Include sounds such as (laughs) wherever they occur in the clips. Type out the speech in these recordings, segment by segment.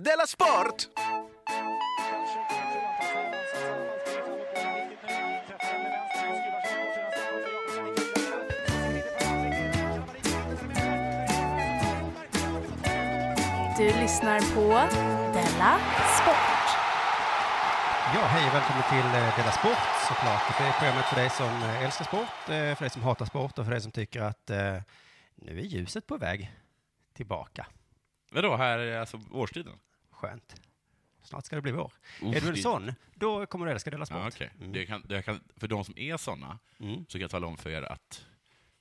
Della Sport! Du lyssnar på Della Sport. Ja, hej och välkommen till eh, Della Sport såklart. Det är programmet för dig som eh, älskar sport, eh, för dig som hatar sport och för dig som tycker att eh, nu är ljuset på väg tillbaka. Vadå, här är alltså årstiden? Skönt. Snart ska det bli vår. Uff, är du en det- sån, då kommer du älska Della Sport. Ja, okej. Mm. det kan, det kan, för de som är sådana, Mm. så kan jag tala om för er att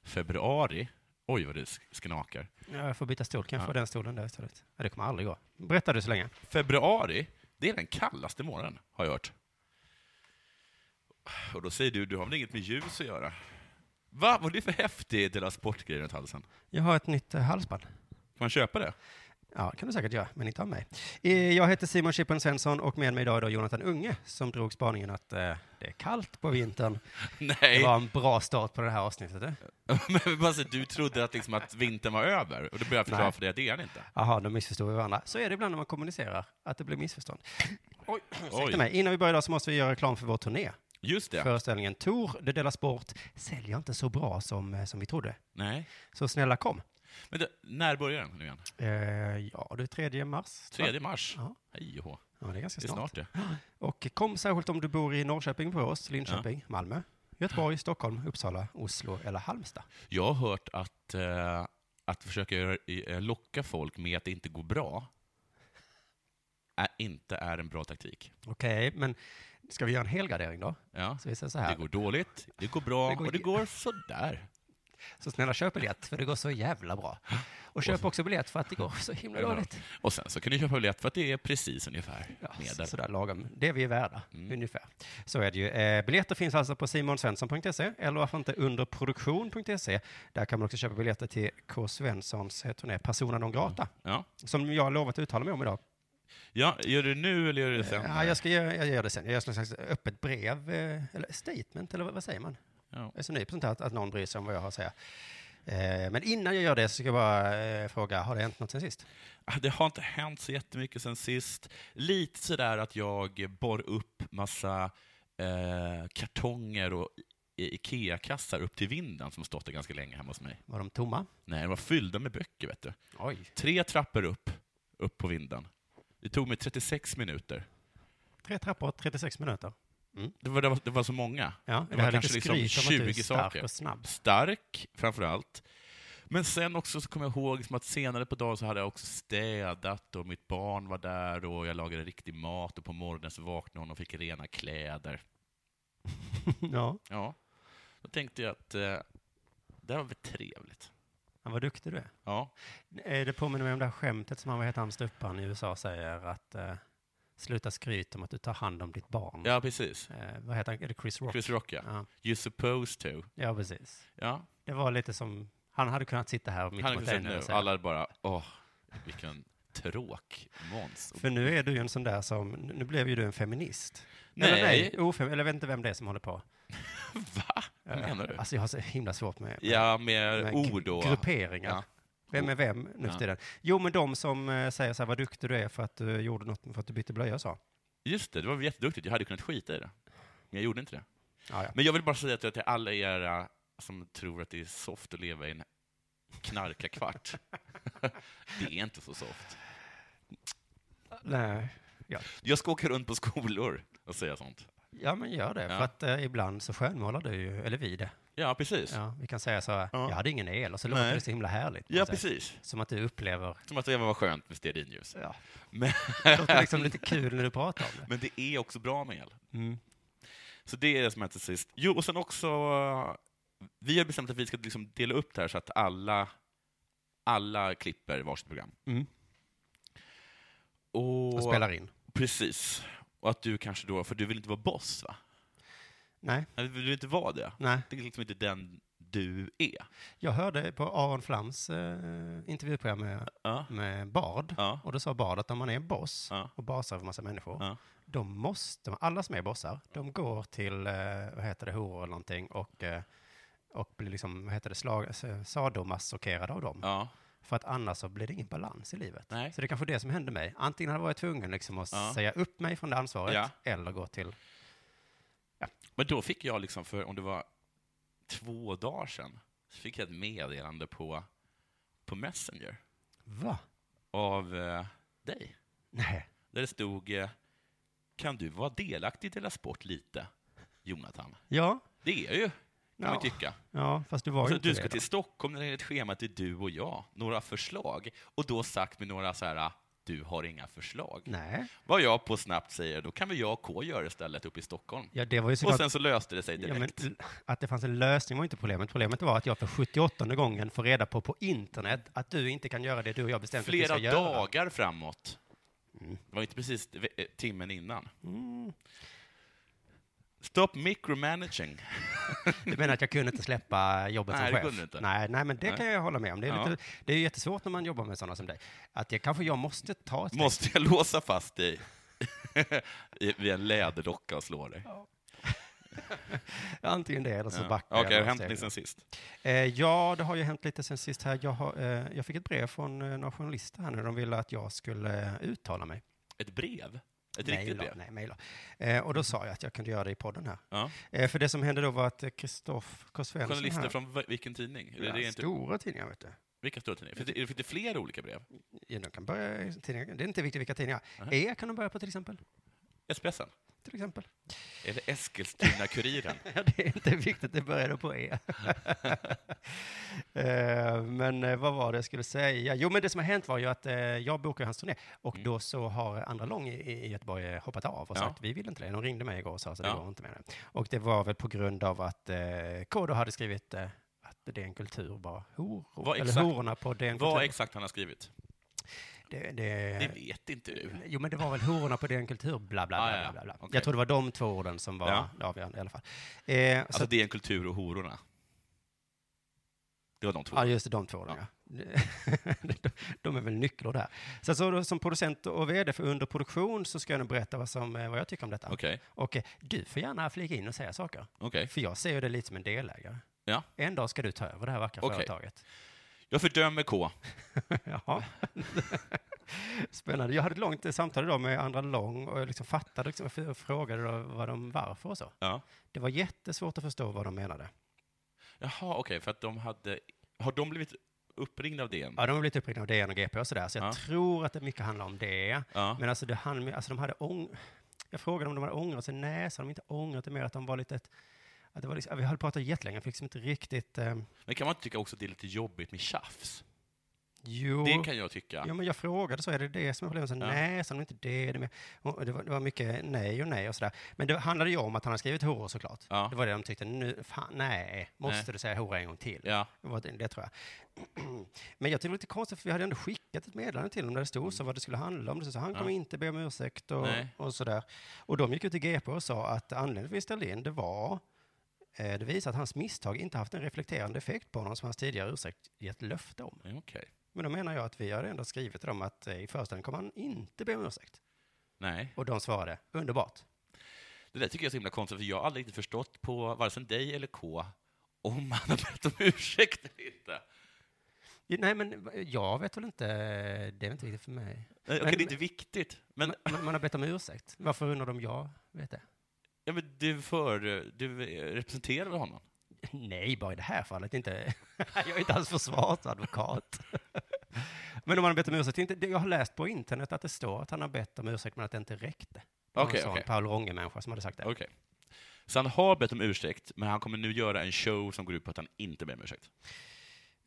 februari, oj vad det sk- sknakar. Ja, jag får byta stol, kan jag Ja. få den stolen där istället? Ja, det kommer aldrig gå. Berätta du så länge. Februari, det är den kallaste månaden, har jag hört. Och då säger du, du har väl inget med ljus att göra? Va? Vad är det för häftig del av sportgrej runt halsen? Kan Jag har ett nytt eh, halsband. man (laughs) köpa det? Ja, det kan du säkert göra, men inte av mig. Eh, Jag heter Simon Chippen Svensson och med mig idag är då Jonathan Unge som drog spaningen att eh, det är kallt på vintern. Det Nej, var en bra start på det här avsnittet. eh? (laughs) men bara så att du trodde att, liksom, att vintern var över, och då började jag förklara Nej. för dig att det är den inte. Jaha, då missförstod vi varandra. Så är det ibland när man kommunicerar, att det blir missförstånd. Oj, ursäkta Oj. mig. Innan vi börjar idag så måste vi göra reklam för vår turné. Just det. Föreställningen Tor, det delas bort, säljer inte så bra som, eh, som vi trodde. Nej. Så snälla kom. Men du, när börjar den nu igen? Eh, ja, det är 3 mars. va? 3 mars? Ja. Hej och hå. Ja, det är ganska Det är snart. snart det. Och kom särskilt om du bor i Norrköping, Borås, Linköping, Malmö, Göteborg, Stockholm, Uppsala, Oslo eller Halmstad. Jag har hört att, eh, att försöka göra- eh, locka folk med att det inte går bra är, inte är en bra taktik. Okej, men ska vi göra en helgardering då? Ja. Så vi säger så Det här. går dåligt, det går bra Det går och det ge- går sådär. Så snälla köp biljett, för det går så jävla bra. Och köp också biljett för att det går så himla Ja. dåligt. Och sen så kan du köpa biljett för att det är precis ungefär Ja, så- medel. sådär lagom. Det vi är värda, Mm. ungefär. Så är det ju. Eh, biljetter finns alltså på simonsvensson.se eller varför inte underproduktion.se. Där kan man också köpa biljetter till K. Svenssons eh, turné Persona non grata, Ja. som jag har lovat att uttala mig om idag. ja, gör du det nu eller gör du det sen? Ja, jag ska göra jag gör det sen. Jag gör ett slags öppet brev, eh, eller statement, eller vad- vad säger man? Ja. Jag är så ny på sånt här, att, att någon bryr sig om vad jag har att säga. Eh, Men innan jag gör det så ska jag bara eh, fråga, har det hänt något sen sist? Ah, Det har inte hänt så jättemycket sen sist. Lite sådär att jag bar upp massa eh, kartonger och i- IKEA-kassar upp till vinden som stått där ganska länge hemma hos mig. Var de tomma? Nej, de var fyllda med böcker, vet du. Oj. Tre trappor upp, upp på vinden. Det tog mig 36 minuter. Tre trappor, 36 minuter. Det var, det var, det var så många. Ja, Det det här var är lite kanske skryt liksom om att du är 20 stark saker. och snabb. (laughs) Stark, framför allt. Men sen också så kom jag ihåg liksom att senare på dagen så hade jag också städat och mitt barn var där och jag lagade riktig mat och på morgonen så vaknade hon och fick rena kläder. ja, Ja, då tänkte jag att eh, det här var väl trevligt. han var duktig du är. Ja, Eh, Det påminner mig om det här skämtet som han, vad heter han, ståupparen i USA säger att eh, sluta skryta om att du tar hand om ditt barn. ja precis. Eh, vad heter han? Är det Chris Rock? Chris Rock, ja. Ja. You supposed to. ja, precis. Ja, Det var lite som, han hade kunnat sitta här mitt han mot hade dig sagt nu nu. och säga. Alla hade bara, åh, vilken tråk Måns. För nu är du ju en sån där som, nu blev ju du en feminist. Nej. Eller nej, ofem, eller jag vet inte vem det är som håller på. (laughs) Va? Vad Eh, menar du? Alltså jag har så himla svårt med, med, Ja, med med ord gru- och... grupperingar. Ja. Vem är vem nu för Ja. tiden? Jo, men de som eh, säger så här, vad duktig du är för att du gjorde något, för att du bytte blöja och så. Just det, det var jätteduktigt. Jag hade kunnat skita i det. Men jag gjorde inte det. Ja, ja. Men jag vill bara säga till till alla er eh, som tror att det är soft att leva i en knarkarkvart. (laughs) det är inte så soft. Nej. Jag ska åka runt på skolor och säga sånt. Ja, men gör det. Ja. För att eh, ibland så skönmålar du ju, eller vi det. Ja, precis. Ja, Ja, vi kan säga så här, Ja. jag hade ingen el, och så låter Nej. det så himla härligt. på något sätt. precis. Som att du (laughs) upplever, Som att det var skönt med stearinljus. ja. Men, det låter liksom lite kul när du pratar om det. men det är också bra med el. Mm. Så det är det som hände sist. Jo, och sen också, eh, vi har bestämt att vi ska liksom dela upp det här så att alla, alla klipper varsitt program. Mm. Och, Och spelar in. Precis. Och att du kanske då, för du vill inte vara boss va? Nej, Eller Du vill inte vara det. nej. Det är liksom inte den du är. Jag hörde på Aron Flams eh, intervjuprogram med, Ja. med Bard, Ja. och då sa Bard att om man är boss Ja. och basar för massa människor, Ja. då måste, alla som är bossar, de går till, eh, vad heter det, horor eller någonting och, eh, och blir liksom, vad heter det, slag, sadomassorkerade av dem. ja. För att annars så blir det ingen balans i livet. Nej. Så det är kanske det som hände mig. Antingen hade jag varit tvungen liksom att Ja. säga upp mig från det ansvaret Ja. eller gå till... Men då fick jag, liksom för om det var två dagar sedan, så fick jag ett meddelande på, på Messenger Va? av eh, dig. Nej. Där det stod eh, ”Kan du vara delaktig i Dela Sport lite, Jonathan?” Ja. Det är jag ju, kan man Ja. ju tycka. Ja, fast du var ju Så inte du det ska då. till Stockholm, det är ett schema till du och jag, några förslag. Och då sagt med några så här, "Ah, du har inga förslag. Nej. Vad jag på snabbt säger, då kan väl jag och K göra det istället uppe i Stockholm. Ja, det var ju Och såklart... sen så löste det sig Ja, men, direkt. l- att det fanns en lösning var inte problemet. Problemet var att jag för 78 gången får reda på på internet att du inte kan göra det du och jag bestämt att vi Flera ska göra. Mm. dagar framåt. Det var inte precis ve- eh, timmen innan. Stop micromanaging. Du menar att jag kunde inte släppa jobbet Nej, som det chef? kunde du inte. Nej, nej, men det Nej. kan jag hålla med om. Det är, Ja. lite, det är ju jättesvårt när man jobbar med sådana som dig. Att jag kanske jag måste ta ett steg. Måste jag låsa fast dig (laughs) i- vid en läderdocka och slå dig? Antingen det eller så Ja. backar Okej, jag. har det några hänt liksom? steg. ni sen sist? Eh, ja, det har ju hänt lite sen sist här. Jag, har, eh, jag fick ett brev från eh, några journalister här nu. De ville att jag skulle eh, uttala mig. Ett brev? Ett riktigt Mejla, brev? Nej, mejla. Eh, och då sa jag att jag kunde göra det i podden här. Ja. Eh, för det som hände då var att eh, Kristoff K. Svensson Journalister här, från v- vilken tidning? Eller Ja, det är inte, Stora tidningar, vet du. vilka stora tidningar? Finns det, finns det flera olika brev? Ja, de kan börja, i tidningar. Det är inte viktigt vilka tidningar. Nej. E kan de börja på till exempel. Expressen? Till exempel. Eller Eskilstuna-Kuriren? Ja, (laughs) det är inte viktigt, det började på E. (laughs) Eh, men eh, vad var det jag skulle säga? Jo, men det som har hänt var ju att eh, jag bokade hans turné och Mm. då så har Andra Lång i, i Göteborg eh, hoppat av och Ja. sagt vi vill inte det. De ringde mig igår och sa så det Ja. går inte med det. Och det var väl på grund av att eh, Kodo hade skrivit eh, att det är en kultur bara horor, Vad eller exakt- hororna på DN (laughs) Vad Kultur. exakt han har skrivit? Det, Det det, vet inte du. jo, men det var väl hororna på DN Kultur, bla bla bla. Ah, ja, ja. bla, bla, bla. Okej. Jag tror det var de två orden som var Ja. avgörande i alla fall. Eh, så Alltså, det är en kultur och hororna. Det var de två. Ja, just det, de två. orden, Ja. (laughs) de, de är väl nycklar där. Sen så då, som producent och vd för underproduktion så ska jag nu berätta vad, som, eh, vad jag tycker om detta. Okej, Och eh, du får gärna flika in och säga saker. okej. För jag ser ju det lite som en delägare. Ja. En dag ska du ta över det här vackra Okej. företaget. (laughs) Jag fördömer K. Jaha. (laughs) Spännande. Jag hade ett långt eh, samtal idag med andra lång och jag liksom fattade liksom, och frågade då vad de, varför och så. Ja. Mm. Det var jättesvårt att förstå vad de menade. Jaha, okej, för att de hade... Har de blivit uppringda av DN? Ja, de har blivit uppringda av DN och GP och sådär, så jag Ja. tror att det mycket handlar om det. Ja. Men alltså, det hann, alltså de hade ång... Jag frågade om de hade ångrat sig. Nej, sa de inte ångrat det mer att de var lite ett... Att det var liksom, vi hade pratat jättelänge, fick liksom inte riktigt... Eh, Men kan man inte tycka också att det är lite jobbigt med tjafs? jo, Det kan jag tycka. jo, men jag frågade så, är det det som är problemet? Så, Ja. Nej, sa de inte det. det, är mer, och det, var, det var mycket nej och nej och sådär. Men det handlade ju om att han hade skrivit horor såklart. Ja. Det var det de tyckte, nu, fan, nej, måste Nej. du säga hora en gång till? Ja. Det var Det, det tror jag. Men jag (clears throat) tyckte det var lite konstigt, för vi hade ändå skickat ett meddelande till dem där det stod så vad det skulle handla om. Så han kommer Ja. inte be om ursäkt och, Nej. och sådär. Och de gick ut till GP och sa att anledningen till att vi ställde in det var eh, det visar att hans misstag inte haft en reflekterande effekt på honom som hans tidigare ursäkt gett löfte om. ja, Okej. Men då menar jag att vi hade ändå skrivit till dem att eh, i föreställningen kommer han inte be om ursäkt. Nej. Och de svarade underbart. Det där tycker jag är så himla konstigt, för jag har aldrig riktigt förstått på varken dig eller K om han har bett om ursäkt eller inte. Jo, Nej, men eh, jag vet väl inte, det är inte riktigt för mig. Nej, Okej, Men- det är inte viktigt, men Man, man har bett om ursäkt. Varför undrar de jag vet det? Ja, men du, för, du representerar väl honom? Nej, bara i det här fallet inte. (laughs) jag är inte alls försvarsadvokat. (laughs) men om han har bett om ursäkt, inte, det- jag har läst på internet att det står att han har bett om ursäkt men att det inte räckte. Det var Okej, en sån okej. Paul Ronge-människa som hade sagt det. Okej. Så han har bett om ursäkt, men han kommer nu göra en show som går ut på att han inte ber om ursäkt.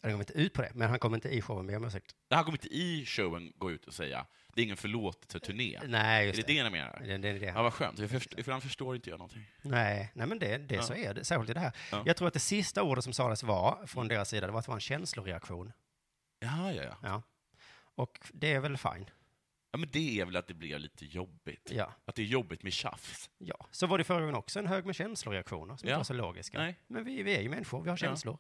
Han kom inte ut på det, men han kom inte i showen med om ursäkt. Nej, Han kommer inte i showen gå ut och säga det är ingen förlåtelseturné. Nej, Är just det det han menar? Det, det, är det. Ja, vad skönt. Jag förstår, för han förstår inte jag någonting. Nej, nej, men det, det Ja. så är det, särskilt i det här. Ja. Mm. Jag tror att det sista ordet som sades var, från deras sida, det var att det var en känsloreaktion. Ja, ja, ja. Ja. Och det är väl fine. ja men det är väl att det blir lite jobbigt. Ja. Att det är jobbigt med tjafs. ja. Så var det förra gången också, en hög med känsloreaktioner som Ja. inte var så logiska. Nej. Men vi, vi är ju människor, vi har Ja. känslor.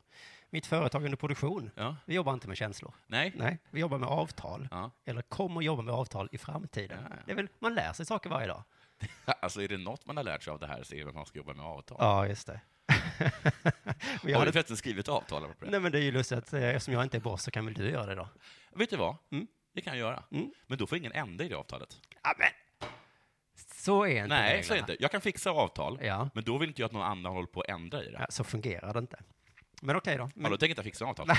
Mitt företag är under produktion, Ja. vi jobbar inte med känslor. Nej. Nej, vi jobbar med avtal. Ja. Eller kommer jobba med avtal i framtiden. Ja, ja. Det är väl, man lär sig saker varje dag. Alltså, är det något man har lärt sig av det här så är det att man ska jobba med avtal. Ja, just det. (laughs) Men jag Har du hade... förresten skrivit avtal på det? Nej, men det är ju lustigt att eh, eftersom jag inte är boss så kan väl du göra det då? Vet du vad? Mm. Det kan jag göra. Mm. Men då får ingen ände i det avtalet. Ja, men. Så är inte Nej, reglerna. så är det inte. Jag kan fixa avtal, Ja. men då vill inte jag att någon annan håller på att ändra i det. Ja, så fungerar det inte. Men okej då. Ja, Men, då tänker jag inte fixa avtal.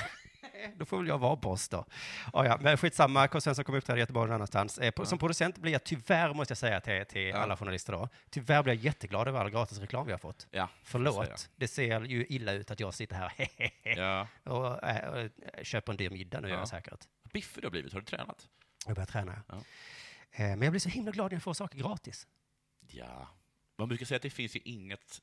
då får väl jag vara boss då. Ja, ja, men skitsamma, konsensus kommer upp här i Göteborg någon annanstans. Eh, på, Som producent blir jag tyvärr, måste jag säga till, till alla journalister då, tyvärr blir jag jätteglad över all gratis reklam vi har fått. Ja, Förlåt, säger jag. det ser ju illa ut att jag sitter här (laughs) eh, Ja. och, eh, och köper en dyr middag nu, gör Ja. jag säkert. Vad Biffig du har blivit. Har du tränat? Jag börjar träna. Ja. Eh, Men jag blir så himla glad när jag får saker gratis. Ja. Man brukar säga att det finns ju inget...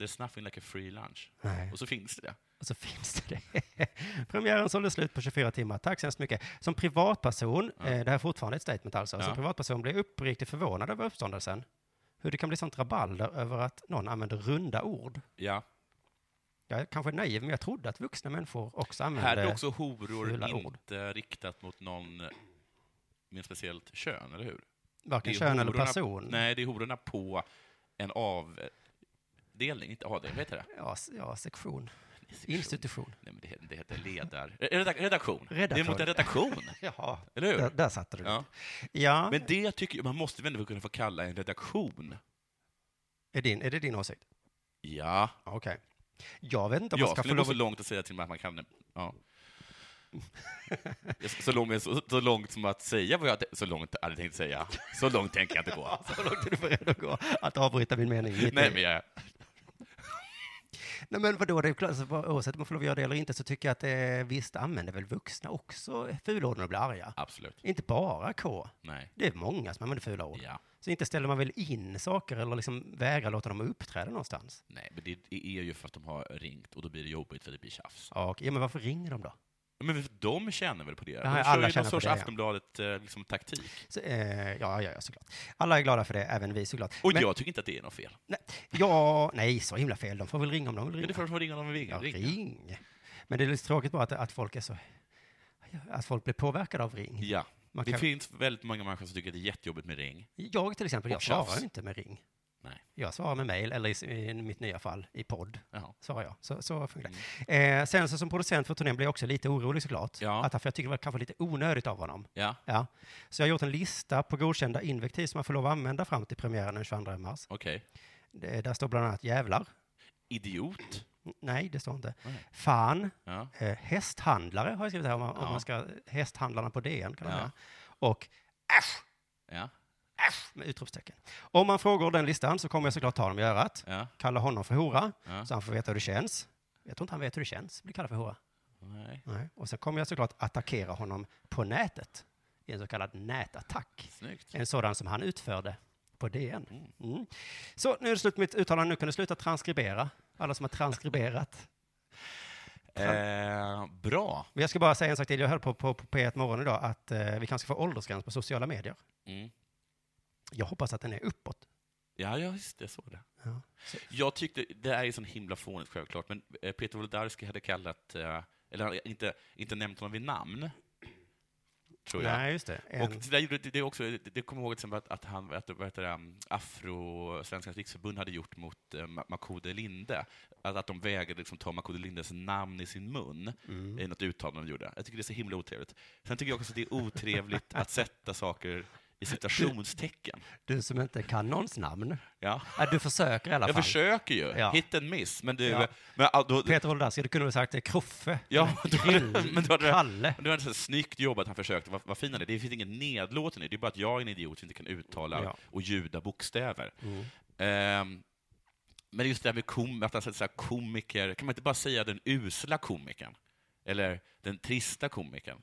There's nothing like a free lunch. Nej. Och så finns det det. Och så (laughs) finns det det. Premiären sålde slut på 24 timmar. Tack så hemskt mycket. Som privatperson, eh, det här är fortfarande ett statement alltså, som Ja. privatperson blev jag uppriktigt förvånad över uppståndelsen. Hur det kan bli sånt rabalder över att någon använder runda ord. Ja. Jag är kanske naiv, men jag trodde att vuxna människor också Här använde... är också horor fula ord. inte riktat mot någon med speciellt kön, eller hur? varken är kön eller hororna- person. Nej, det är hororna på en avdelning, inte avdelning, vad heter det? Ja, s- ja, sektion. Sektion. (laughs) Institution. Nej, men det, heter- det heter ledar... (laughs) eh, redak- Redaktion. Det är Redaktion. mot (laughs) en redaktion, Jaha. eller hur? Där, där satte du det. Ja. Ja. ja. Men det tycker jag, man måste väl ändå kunna få kalla en redaktion? Är, din, är det din åsikt? Ja. Ja, Okej. Jag vet inte om man Jag ska få skulle gå lov (laughs) så att... långt att säga till mig att man kan... Ja. (laughs) Så långt, så, så långt som att säga vad jag... Så långt hade jag tänkt säga. Så långt tänker jag inte gå. Så långt är du beredd att gå? Att avbryta min mening? mitt i. (laughs) Nej, men jag... Nej men vadå, det är klart, så vad- oavsett om man får lov att göra det eller inte så tycker jag att eh, visst använder väl vuxna också fulorden och blir arga. Absolut. Inte bara K. Nej. Det är många som använder fula ord. Ja. Så inte ställer man väl in saker eller liksom vägrar låta dem uppträda någonstans. Nej, men det är ju för att de har ringt och då blir det jobbigt för det blir tjafs. Ja, och, ja men varför ringer de då? Men de känner väl på det? alla De kör ju känner någon på sorts det, ja. Aftonbladet-taktik. Liksom, taktik. Så, eh, ja, ja, ja, såklart. Alla är glada för det, även vi såklart. och Men- jag tycker inte att det är något fel. Nej, ja, nej, så himla fel. De får väl ringa om de vill Men ringa. det får de ringa om de vill. Ja, Ring. ring. Men det är lite tråkigt bara att, att folk är så... Att folk blir påverkade av ring. Ja. Man Det kan- finns väldigt många människor som tycker att det är jättejobbigt med ring. Jag till exempel, jag Och tjafs. svarar ju inte med ring. Nej. Jag svarar med mejl, eller i, s- i mitt nya fall, i podd. Jaha. Svarar jag. Så, så funkar det. Eh, sen så som producent för turnén blev jag också lite orolig såklart. Mm. Ja. Att, för jag tycker det var kanske lite onödigt av honom. Ja, Ja. Så jag har gjort en lista på godkända invektiv som man får lov att använda fram till premiären den 22 mars. okej. Det, där står bland annat jävlar. Idiot. N- Nej, det står inte. Nej. Fan. Ja. Eh, hästhandlare har jag skrivit här, om man, Ja. om man ska... Hästhandlarna på DN kan man Ja. säga. Och äsch, Ja. äsch, med utropstecken. Om man frågar den listan så kommer jag såklart ta dem i örat. Ja. kalla honom för hora, Ja. så han får veta hur det känns. Jag tror inte han vet hur det känns att bli kallad för hora. Nej. Nej. Och sen kommer jag såklart attackera honom på nätet, i en så kallad nätattack. Snyggt. En sådan som han utförde på DN. Mm. Så nu är det slut med mitt uttalande, nu kan du sluta transkribera, alla som har transkriberat. Eh, bra. Men jag ska bara säga en sak till, jag hörde på, på, på P1 Morgon idag att eh, vi kanske ska få åldersgräns på sociala medier. Mm. Jag hoppas att den är uppåt. Ja, ja, just det, jag såg det. Ja. Så- Jag tyckte, det här är sån himla fånigt självklart, men eh, Peter Wolodarski hade kallat, eh, eller han hade inte, inte nämnt honom vid namn, tror jag. Nej, just det. En, Och det, där gjorde- det, det, också, det, det kommer jag ihåg till exempel att, att han, att, vad heter det, um, Afro, Svenskans riksförbund hade gjort mot eh, Ma- Makode Linde, att, att de vägrade liksom, ta Makode Lindes namn i sin mun Mm. i något uttalande de gjorde. Jag tycker det är så himla otrevligt. Sen tycker jag också att det är otrevligt att sätta saker (laughs) i citationstecken. du som inte kan någons namn. Ja. Ja, du försöker i alla Jag fall. försöker ju. Ja. Hit and miss. Men du... Ja. Men, ah, då, Peter Wolodarski, du kunde väl sagt eh, Kroffe? ja, (laughs) då, Grill, men då hade, Kalle. men Det var så här snyggt jobbat, han försökte. Vad, vad fin han är. Det finns inget nedlåten i det. Det är bara att jag är en idiot som inte kan uttala Ja. Mm. och ljuda bokstäver. Ehm, men just det här med kom, att han säger så här, komiker, kan man inte bara säga den usla komikern? Eller den trista komikern?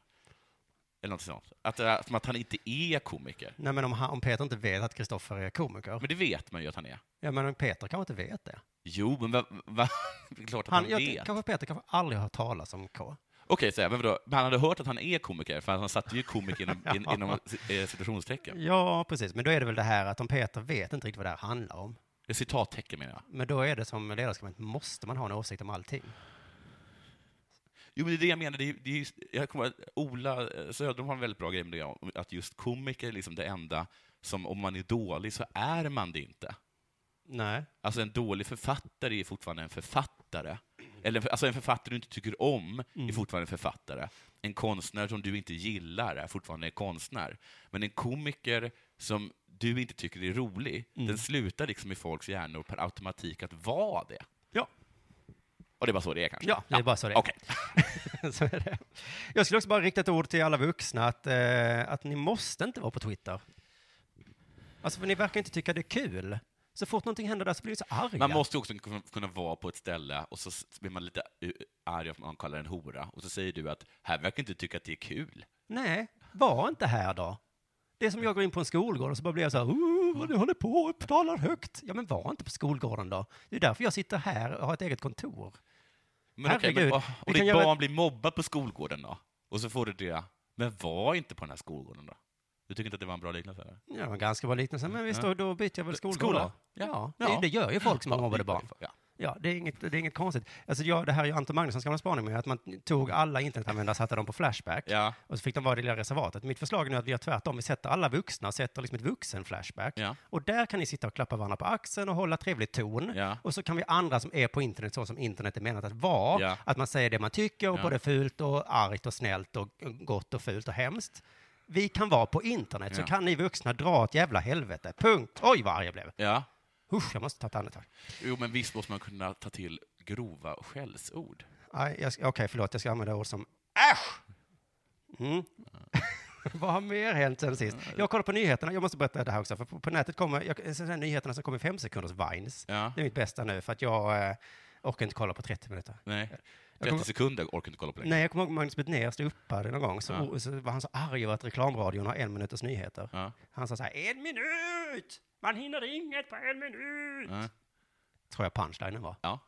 Eller något sånt. Att, det är som att han inte är komiker. Nej, men om, han, om Peter inte vet att Kristoffer är komiker. Men det vet man ju att han är. ja, men om Peter kanske inte vet det. Jo, men va, va, (laughs) det är klart att Han, man vet. jag, kanske Peter kanske aldrig har hört talas om K. Okej, så här, men vadå? Men han hade hört att han är komiker, för han satte ju komiker inom, in, inom eh, citationstecken. Ja, precis. Men då är det väl det här att om Peter vet inte riktigt vad det här handlar om. Eh, Citattecken menar jag. Men då är det som ledarskribent, måste man ha en åsikt om allting? Jo, men det är det jag menar. Det är, det är just, jag kommer att Ola eh, Söderholm har en väldigt bra grej med det, om att just komiker är liksom det enda som, om man är dålig, så är man det inte. Nej. Alltså en dålig författare är fortfarande en författare. Eller en för- alltså en författare du inte tycker om är fortfarande en författare. En konstnär som du inte gillar är fortfarande en konstnär. Men en komiker som du inte tycker är rolig, den slutar liksom i folks hjärnor per automatik att vara det. Ja. Och det är bara så det är kanske? Ja, det är bara så det är. Okej. (laughs) Så är det. Jag skulle också bara rikta ett ord till alla vuxna att, eh, att ni måste inte vara på Twitter. Alltså, för ni verkar inte tycka det är kul. Så fort någonting händer där så blir ni så arga. Man måste ju också kunna- kunna vara på ett ställe och så s- blir man lite eh, arg om man kallar en hora och så säger du att här verkar inte tycka att det är kul. Nej, var inte här då. Det är som jag går in på en skolgård och så bara blir jag så här, "Oh, vad du håller på och talar högt. Ja, men var inte på skolgården då. Det är därför jag sitter här och har ett eget kontor. Men okej, Herregud, men, och, vi och kan ditt göra- barn blir mobbad på skolgården då? Och så får du det. Men var inte på den här skolgården då? Du tycker inte att det var en bra liknelse? Eller? Ja, det var en ganska bra liknelse, men visst, då, då byter jag väl skolgård Skola? då. Ja, Ja. Det, Ja. det gör ju folk som har Ja, mobbade det gör barn. ju- ja. Ja, det är inget, det är inget konstigt. Alltså, jag, det här är ju Anton Magnussons gamla spaning med att man tog alla internetanvändare och satte dem på Flashback. Ja. Och så fick de vara i det lilla reservatet. Mitt förslag är nu att vi gör tvärtom. Vi sätter alla vuxna, sätter liksom ett vuxen-Flashback. Ja. Och där kan ni sitta och klappa varandra på axeln och hålla trevlig ton. Ja. Och så kan vi andra som är på internet, så som internet är menat att vara, Ja. att man säger det man tycker, och Ja. både fult och argt och snällt och gott och fult och hemskt. Vi kan vara på internet, så Ja. kan ni vuxna dra ett jävla helvete. Punkt. Oj, vad arg jag blev. ja. Usch, jag måste ta ett andetag. Jo, men visst måste man kunna ta till grova skällsord? Aj, jag ska- Okej, förlåt, jag ska använda ord som äsch! Mm. (laughs) Vad har mer hänt sen sist? Jag kollar på nyheterna, jag måste berätta det här också, för på, på nätet kommer, jag, sen- sen nyheterna som kommer i fem sekunders vines, Ja. det är mitt bästa nu, för att jag eh, orkar inte kolla på 30 minuter. Nej. kommer- 30 sekunder orkar inte kolla på längre. Nej, jag kommer ihåg Magnus Betnér stod uppe någon gång, så, och, så var han så arg över att reklamradion har en minuters nyheter. Ja. Han sa så här, en minut! Man hinner inget på en minut! Ja. Tror jag punchlinen var. Ja.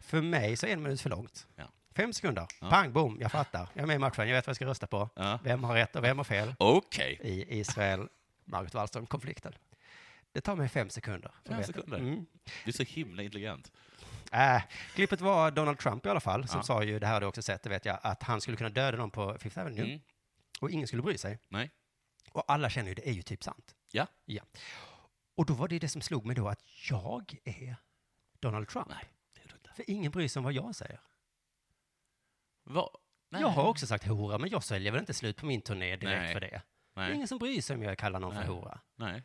För mig så är en minut för långt. Ja. Fem sekunder. Pang, boom, jag fattar. Jag är med i matchen, jag vet vad jag ska rösta på. Ja. Vem har rätt och vem har fel Okej. i Israel-Margot Wallström-konflikten? Det tar mig fem sekunder. att Fem veta. sekunder. Mm. Du är så himla intelligent. Äh, klippet var Donald Trump i alla fall, som sa ju, det här har du också sett, det vet jag, att han skulle kunna döda någon på Fifth Avenue Mm. och ingen skulle bry sig. Nej. Och alla känner ju, det är ju typ sant. Ja. Ja. Och då var det det som slog mig då, att jag är Donald Trump. Nej, det är du inte. För ingen bryr sig om vad jag säger. Va? Nej. Jag har också sagt hora, men jag säljer väl inte slut på min turné direkt Nej. för det. Det är Nej. ingen som bryr sig om jag kallar någon för Nej. hora. Nej.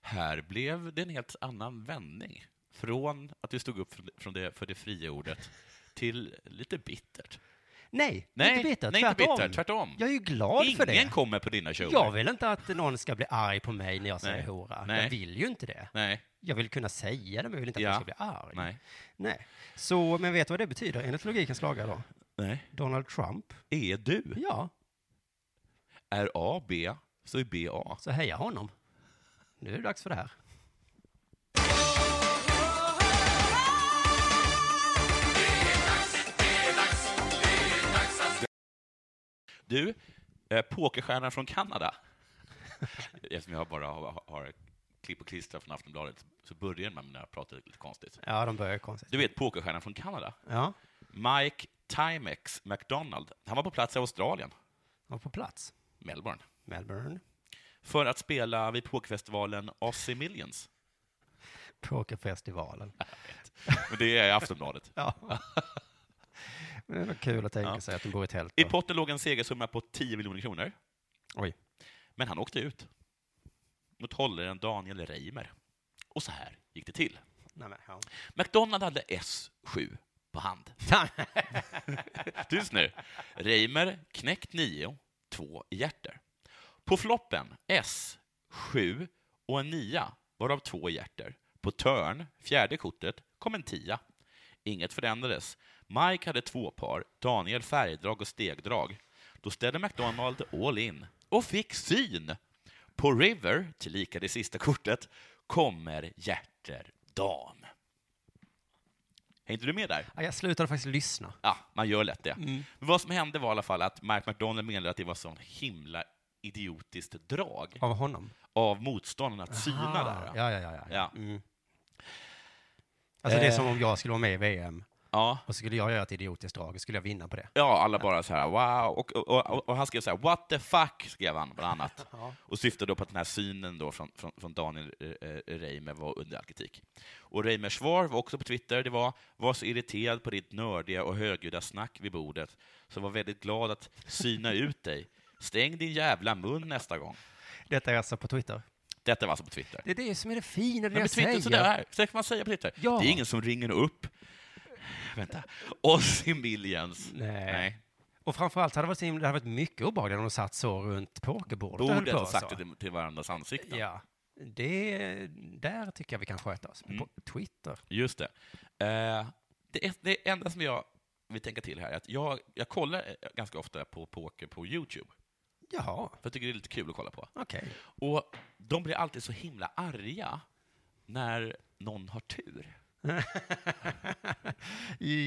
Här blev det en helt annan vändning. Från att du stod upp för- från det, för det fria ordet till lite bittert. Nej, Nej, inte bitter, nej, inte tvärtom. bitter, tvärtom. Jag är ju glad Ingen för det. kommer på dina shower. Jag vill inte att någon ska bli arg på mig när jag säger Nej. hora. Jag Nej. vill ju inte det. Nej, Jag vill kunna säga det, men jag vill inte att Ja. någon ska bli arg. nej. Nej. Så, men vet du vad det betyder enligt logikens lagar då? nej. Donald Trump? Är du Ja, är A B så är B A. så heja honom. Nu är det dags för det här. Du, eh, pokerstjärnan från Kanada. (laughs) Eftersom jag bara har, har klipp och klistra från Aftonbladet så börjar man med att prata lite konstigt. Ja, de börjar konstigt. Du vet pokerstjärnan från Kanada? Ja, Mike Timex McDonald. Han var på plats i Australien, och på plats. Melbourne, Melbourne. för att spela vid pokerfestivalen Aussie Millions. Pokerfestivalen. Men det är Aftonbladet. (laughs) Ja. Men det var kul att tänka Ja. sig att de bor i ett tält. I då. potten låg en segersumma på 10 miljoner kronor, Oj. men han åkte ut mot hållaren Daniel Reimer. Och så här gick det till. Nej, men, ja. McDonald hade S7 på hand. Tyst nu. Reimer knäckt 9, 2 i hjärter. På floppen S7 och en 9, varav två i hjärter. På törn, fjärde kortet, kom en 10. Inget förändrades. Mike hade två par, Daniel färgdrag och stegdrag. Då ställde McDonald all in och fick syn. På River, tillika det sista kortet, kommer hjärter dam. Hängde du med där? Ja, jag slutade faktiskt lyssna. Ja, man gör lätt det. Men vad som hände var i alla fall att Mark McDonald menade att det var sån himla idiotiskt drag Av honom? av motståndarna att syna där. Ja, ja, ja. ja. Ja. Mm. Alltså det är som om jag skulle vara med i VM Ja. Och så skulle jag göra ett idiotiskt drag och skulle jag vinna på det. Ja, alla bara så här wow. Och, och, och, och han skrev så här what the fuck, skrev han bland annat. Och syftade då på att den här synen då från, från, från Daniel eh, Reimer var under all kritik. Och Reimer svar var också på Twitter, det var var så irriterad på ditt nördiga och högljudda snack vid bordet, så var väldigt glad att syna ut dig. Stäng din jävla mun nästa gång. Detta är alltså på Twitter. Detta var alltså på Twitter. Det är det som är det fina, det Men på jag Twitter säger. så där, så där kan man säga på Twitter. Ja. Det är ingen som ringer upp. (laughs) Vänta. Ozzy Millions. Nej. Och framförallt hade det varit, så himla- det hade varit mycket obehagligt om de satt så runt pokerbordet. och höll Bordet på har sagt så. det till- till varandras ansikten. Ja. Det, där tycker jag vi kan sköta oss. Men Mm. På Twitter. Just det. Eh, det, är, det enda som jag vill tänka till här är att jag, jag kollar eh, ganska ofta på poker på YouTube, Jaha, för jag tycker det är lite kul att kolla på. okej. Och de blir alltid så himla arga när någon har tur.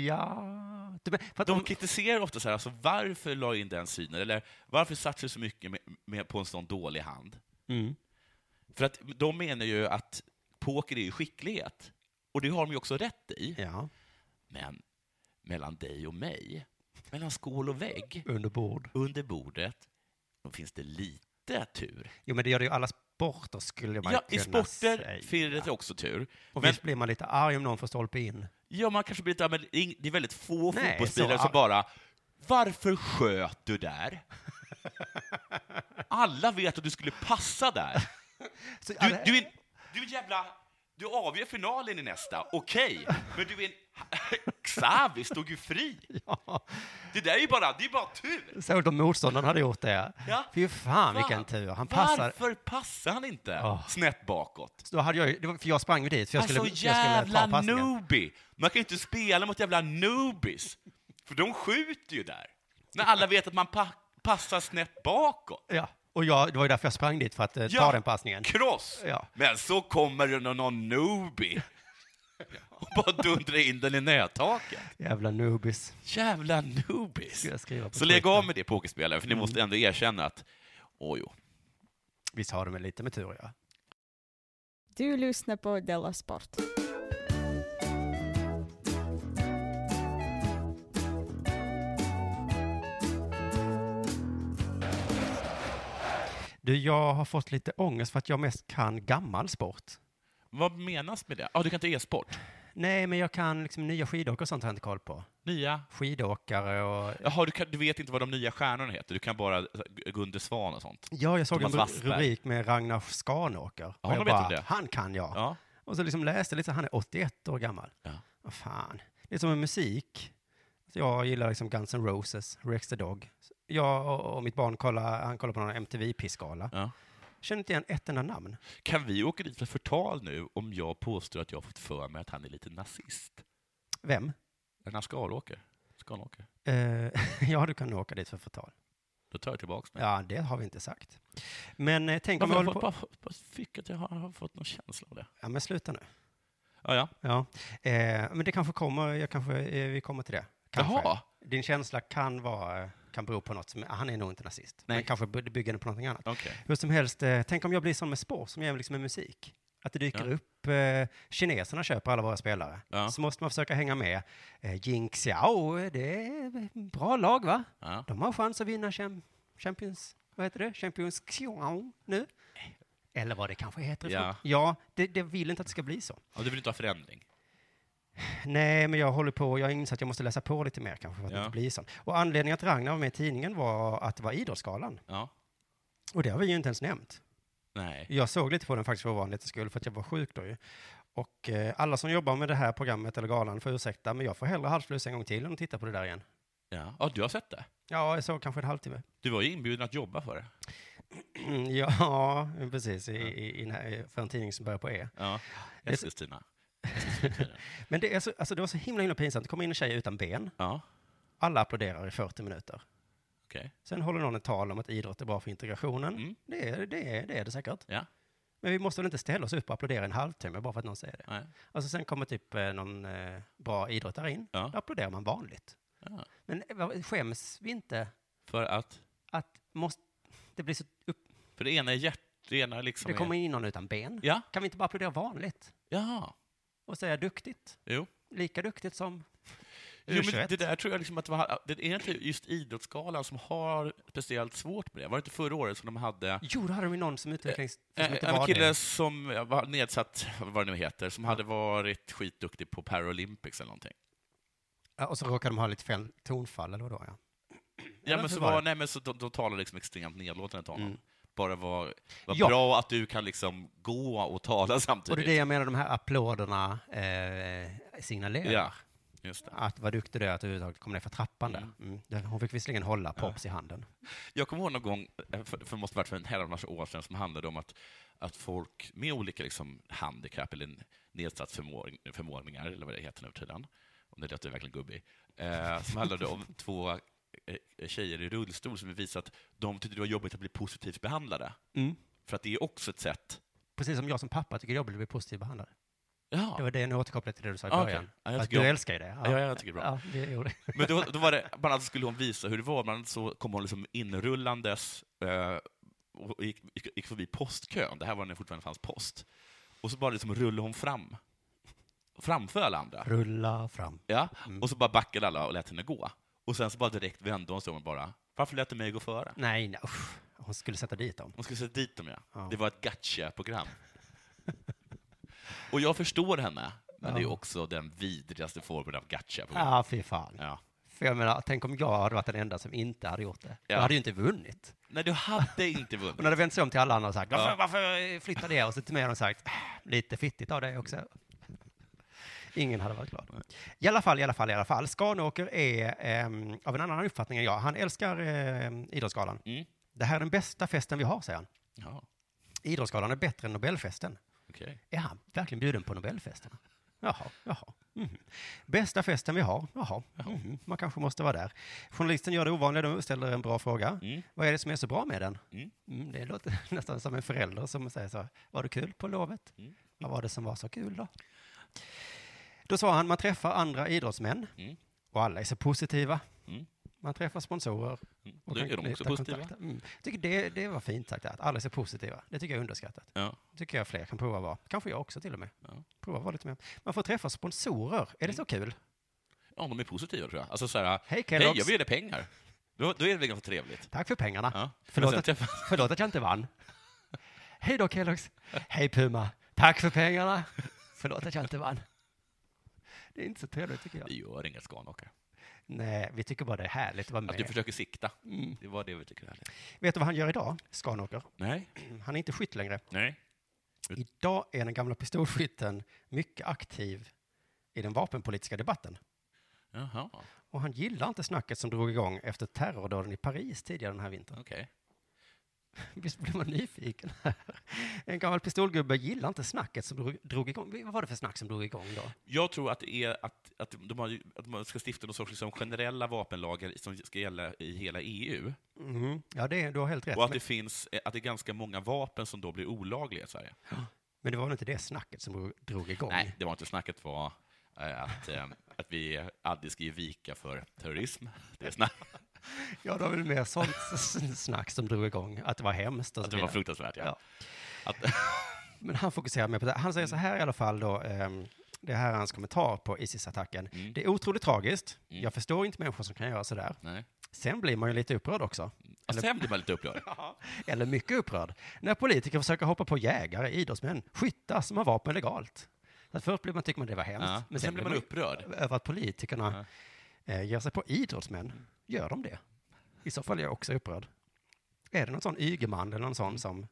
Ja. Du, men, för att De om, kritiserar ofta så här, alltså varför la jag in den synen? Eller varför satsar du så mycket med, med, på en sån dålig hand? mm. För att de menar ju att poker är ju skicklighet. Och det har de ju också rätt i. Ja, Men mellan dig och mig, mellan skål och vägg, under bord. under bordet, då finns det lite tur. Jo, men det gör det ju i alla sporter skulle man Ja, i kunna sporter säga. finns det också tur. Och Men visst blir man lite arg om någon får stolpe in. ja, man kanske blir lite, men ing- det är väldigt få Nej, fotbollsspelare så- som bara ”Varför sköt (laughs) du där?” Alla vet att du skulle passa där. Så, Du, du, är, en- du är en jävla... Du avgör finalen i nästa, okej, men du är en... (laughs) Xavi stod ju fri! (laughs) ja, Det där är ju bara, det är bara tur! såg du om motståndaren hade gjort det? Ja. Fy fan vilken Fan. tur. Han passar. Varför passar han inte Ah. snett bakåt? Då hade jag, ju- det var- för jag sprang ju dit, för jag skulle, Alltså jag skulle jävla ta passningen. noobie! Man kan ju inte spela mot jävla noobies, för de skjuter ju där. När alla vet att man pa- passar snett bakåt. Ja, och jag, det var ju därför jag sprang dit, för att eh, ta Ja. den passningen. Kross! Ja. Men så kommer det någon, (laughs) någon noobie och bara dundrar in den i nättaket. Jävla noobies. Jävla Mm. noobies! Ska jag skriva på Så lägg Twitter. av med det pokerspelare, för ni måste ändå erkänna att, åh jo. Visst har de väl lite med tur, ja. Du lyssnar på Della Sport. Du, jag har fått lite ångest för att jag mest kan gammal sport. Vad menas med det? Ja, ah, du kan inte e-sport? Nej, men jag kan liksom nya skidåkare och sånt har jag inte koll på. Nya Skidåkare och... Jaha, du, kan, du vet inte vad de nya stjärnorna heter, du kan bara Gunde Svan och sånt? Ja, jag såg Thomas en ru- Wassberg. rubrik med Ragnar Skanåker. Ja, och de jag vet om det. han kan jag. Ja. Och så liksom läste jag lite, så han är 81 år gammal. Ja. Vad fan. Det är som med musik. Så jag gillar liksom Guns N' Roses, Rex the Dog. Jag och, och mitt barn kollar, han kollar på någon MTV-pissgala. Ja. Känner inte igen ett enda namn. Kan vi åka dit för förtal nu om jag påstår att jag har fått för mig att han är lite nazist? Vem? Den här Skaråker? Skaråker? Eh, (laughs) ja, du kan åka dit för förtal. Då tar jag tillbaks det. Ja, det har vi inte sagt. Men eh, tänk om vi Varför- håller Jag på... bara, bara, bara fick att jag har, har fått någon känsla av det. Ja, men sluta nu. Ja, ja. Ja, eh, men det kanske kommer, jag kanske, eh, vi kommer till det. Kanske. Jaha. Din känsla kan vara, kan bero på något som, han är nog inte nazist, Nej. men kanske by- bygger den på någonting annat. Okej. Hur som helst, eh, tänk om jag blir sån med sport som jag är liksom med musik. Att det dyker Ja. upp, eh, kineserna köper alla våra spelare. Ja. Så måste man försöka hänga med. Eh, Jing Xiao, eh, det är bra lag va? Ja. De har chans att vinna champ- Champions, vad heter det? Champions Xiao nu. Eller vad det kanske heter. Ja. Ja, ja det, det vill inte att det ska bli så. ja. Du vill inte ha förändring? Nej, men jag håller på, jag inser att jag måste läsa på lite mer kanske för att Ja. inte bli sån. Och anledningen att Ragnar var med i tidningen var att det var Idrottsgalan. Ja. Och det har vi ju inte ens nämnt. Nej. Jag såg lite på den faktiskt för ovanlighetens skull, för att jag var sjuk då ju. Och eh, alla som jobbar med det här programmet eller galan får ursäkta, men jag får hellre halsfluss en gång till än att titta på det där igen. Ja. ja, du har sett det? Ja, jag såg kanske en halvtimme. (clears throat) Du var ju inbjuden att jobba för det. ja, precis, i, i, i, den här- för en tidning som börjar på E. Ja. Det- Eskilstuna. Men det, är så, alltså, det var så himla, himla pinsamt. Det kommer in en tjej utan ben. Ja, Alla applåderar i 40 minuter. okej. Sen håller någon ett tal om att idrott är bra för integrationen. Mm. Det, är, det, är, det är det säkert. Ja. Men vi måste väl inte ställa oss upp och applådera en halvtimme bara för att någon säger det. Nej. Alltså sen kommer typ eh, någon eh, bra idrottare in. Ja. Då applåderar man vanligt. Ja. Men eh, vad- skäms vi inte För att? att måste, det blir så upp, För det ena är hjärt... Det ena liksom det kommer är... in någon utan ben? Ja. Kan vi inte bara applådera vanligt Jaha. och säga duktigt? Jo. Lika duktigt som... Jo, men U21. det där tror jag liksom att det, var, det är inte just Idrottsgalan som har speciellt svårt med det. Var det inte förra året som de hade Jo, då hade de ju någon som utvecklings... Eh, som inte en var kille det. som ja, var nedsatt, vad det nu heter, som hade varit skitduktig på Paralympics eller någonting. Ja, och så råkade de ha lite fel tonfall eller vadå, ja. Ja, men men så så var var, det. nej, men så de, de talade liksom extremt nedlåtande till honom. Mm. Bara var, var Ja. bra att du kan liksom gå och tala Och det är samtidigt. det jag menar, de här applåderna eh, signalerar. Ja, just det. Att vad duktig du är att du överhuvudtaget kom ner för trappan där. Mm. Det- Hon fick visserligen hålla Pops i handen. Jag kommer ihåg någon gång, eh, för, för det måste varit för en herrans år sedan, som handlade om att, att folk med olika liksom, handikapp eller nedsatt förmån, förmåningar, eller vad det heter nu för tiden, om det låter verkligen gubbig, eh, som handlade om två eh, tjejer i rullstol som visade att de tyckte det var jobbigt att bli positivt behandlade. För att det är också ett sätt... Precis som jag som pappa tycker det är jobbigt att bli positivt behandlad. Ja, Det var det nu återkopplat till det du sa i Ah, okej. början. Ja, jag att tycker du om- älskar ju det. ja, ja, jag tycker det är bra. Ja, det gjorde Men då, då var det, bland annat skulle hon visa hur det var, bland annat så kom hon liksom inrullandes eh, och gick, gick, gick förbi postkön, det här var när det fortfarande fanns post. Och så bara liksom rullade hon fram, framför alla andra. Rulla fram. Ja? Och så bara backade alla och lät henne gå. Och sen så bara direkt vände hon sig om och bara, varför lät du mig gå före? Nej, nej usch. Hon skulle sätta dit dem. Hon skulle sätta dit dem, ja. Ja. Det var ett gotcha-program. och jag förstår henne, men det är också den vidrigaste formen av gotcha-program. Ja, ah, fy fan. Mm. Ja. För jag menar, tänk om jag hade varit den enda som inte hade gjort det. Ja. Jag hade ju inte vunnit. Nej, du hade inte Hon (laughs) vunnit. hade vänt sig om till alla andra och sagt, varför, Ja. varför flyttade jag? Och så till mig hade hon sagt, "Äh, lite fittigt av dig också. Ingen hade varit glad. I alla fall, i alla fall, i alla fall. Skanåker är ehm, av en annan uppfattning än jag. Han älskar ehm, Idrottsgalan. Mm. Det här är den bästa festen vi har, säger han. Ja, Idrottsgalan är bättre än Nobelfesten. okej. Är han verkligen bjuden på Nobelfesten? Jaha, jaha. Mhm. Bästa festen vi har? Jaha, mhm. man kanske måste vara där. Journalisten gör det ovanliga nu, ställer en bra fråga. Mm. Vad är det som är så bra med den? Mm. Mm, det låter (laughs) nästan som en förälder som säger så. Var det kul på lovet? Mm. Vad var det som var så kul då? Då sa han, man träffar andra idrottsmän Mm. och alla är så positiva. Mm. Man träffar sponsorer. Mm. Och Då kan är de också knyta positiva. kontakter. Mm. Jag tycker det, det var fint sagt, där, att alla är så positiva. Det tycker jag är underskattat Ja. tycker jag fler kan prova att vara. Kanske jag också till och med. Ja. Mm. Prova att vara lite mer. Man får träffa sponsorer. Är det så kul? ja, de är positiva tror jag. Alltså så här, Hej hej, Kellogg's. jag vill ge dig pengar. Då, då är det väl ganska trevligt? Tack för pengarna. Ja. Ah, Förlåt, Men att, sen träffar- förlåt att jag inte vann. Hej då Kellogg's. Hej Puma. Tack för pengarna. Förlåt att jag inte vann. Det är inte så trevligt tycker jag. Vi gör inga skanåkare. Nej, vi tycker bara det är härligt att vara med. Att Alltså, du försöker sikta. Mm. Det var det vi tycker är härligt. Vet du vad han gör idag, Skanåker? Nej. Han är inte skytt längre. Nej. Idag är den gamla pistolskytten mycket aktiv i den vapenpolitiska debatten. Jaha, Och han gillar inte snacket som drog igång efter terrordåden i Paris tidigare den här vintern. okej. Visst blir man nyfiken? här? en gammal pistolgubbe gillar inte snacket som drog- drog igång. Vad var det för snack som drog igång då? Jag tror att det är att, att, de har, ju- att man ska stifta någon sorts liksom generella vapenlagar som ska gälla i hela E EU. Mm. Mhm. Ja, det, du har helt rätt. Och att Men, det, finns, eh, att det är ganska många vapen som då blir olagliga i Sverige. men det var väl inte det snacket som drog- drog igång? Nej, det var inte snacket var eh, att, eh, att vi aldrig ska ge vika för terrorism. Det är snack, Ja, det var väl mer sånt s- snack som drog igång. Att det var hemskt och så att det var vidare. fruktansvärt, ja. Ja. Att, Men han fokuserar mer på det. Han säger så här i alla fall då, ehm, det här är hans kommentar på ISIS-attacken. Mm. Det är otroligt tragiskt. Mm. Jag förstår inte människor som kan göra sådär. (laughs) nej. Mm. Sen blir man ju lite upprörd också. Och sen blir man lite upprörd. eller mycket upprörd, när politiker försöker hoppa på jägare, idrottsmän, skyttar som har vapen legalt. Att först blir man, tycker man det var hemskt, Ja. Men sen blir man upprörd. över att politikerna eh, ger sig på idrottsmän. Gör de det? I så fall är jag också upprörd. Är det någon sån Ygeman eller någon sån som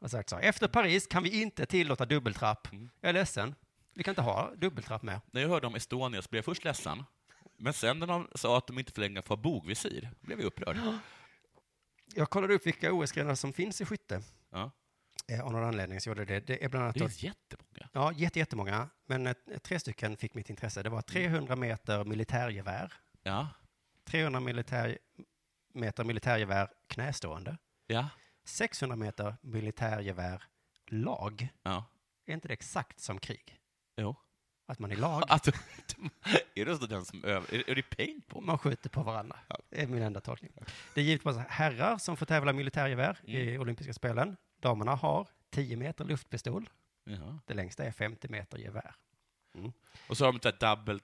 har sagt så här, efter Paris kan vi inte tillåta dubbeltrapp. Jag är ledsen, vi kan inte ha dubbeltrapp med. När jag hörde om Estonia så blev jag först ledsen. Men sen när de sa att de inte får längre få ha bogvisir, blev jag upprörd. Jag kollade upp vilka OS-grenar som finns i skytte. Ja. Eh, av någon anledning så gjorde jag det. Det är bland annat Det då finns jättemånga. Ja, jätte- jättemånga. Men eh, tre stycken fick mitt intresse. Det var 300 meter militärgevär, Ja. 300 militär, meter militärgevär knästående, Ja. 600 meter militärgevär lag. ja. Är inte det exakt som krig? Jo. Att man i lag, Att, (laughs) är det så den som över... Är, är det paintball? man skjuter på varandra. Det är min enda tolkning. Det är givetvis herrar som får tävla militärgevär i Mm. olympiska spelen. Damerna har 10 meter luftpistol. Ja. Det längsta är 50 meter gevär. Och så har de ett där double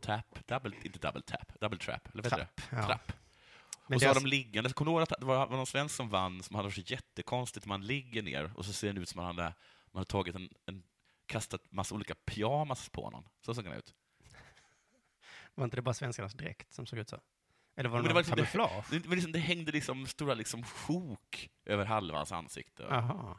tap, double, inte double tap, double trap, eller vad heter det? ja. Trapp. Men alltså- och så har deras- de liggande, kommer du ihåg att det var, var någon svensk som vann som hade så jättekonstigt, man ligger ner och så ser det ut som man hade, man hade tagit en, en, kastat massa olika pyjamas på någon. Så såg den ut. Var inte det bara svenskarnas dräkt som såg ut så? Eller var det någon Men det var liksom- kamouflage? Det, men liksom, det hängde liksom stora liksom sjok över halva hans ansikte. Aha.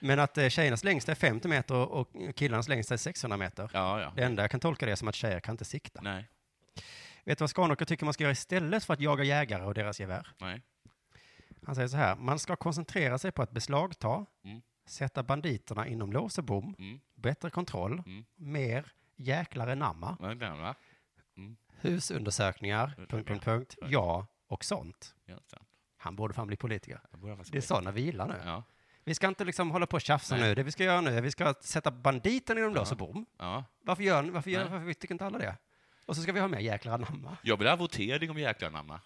Men att eh, tjejernas längsta är 50 meter och killarnas längsta är 600 meter. Ja, ja. Det enda jag kan tolka det är som att tjejer kan inte sikta. Nej, Vet du vad Skanåker tycker man ska göra istället för att jaga jägare och deras gevär? nej. Han säger så här, man ska koncentrera sig på att beslagta, Mm. sätta banditerna inom lås och bom, Mm. bättre kontroll, Mm. mer jäklar enamma, Vad är det, va? husundersökningar, Hur- punkt, ja. punkt, punkt, ja och sånt. Ja, sant. Han borde fan bli politiker. Jag börjar faktiskt- Det är sådana vi gillar nu. Ja, Vi ska inte liksom hålla på och tjafsa Nej. nu. Det vi ska göra nu är att vi ska sätta banditen inom lås och bom. ja. Varför gör ni? Varför, gör, Nej. varför tycker inte alla det? Och så ska vi ha med jäklar anamma. Jag vill ha votering om jäklar namna.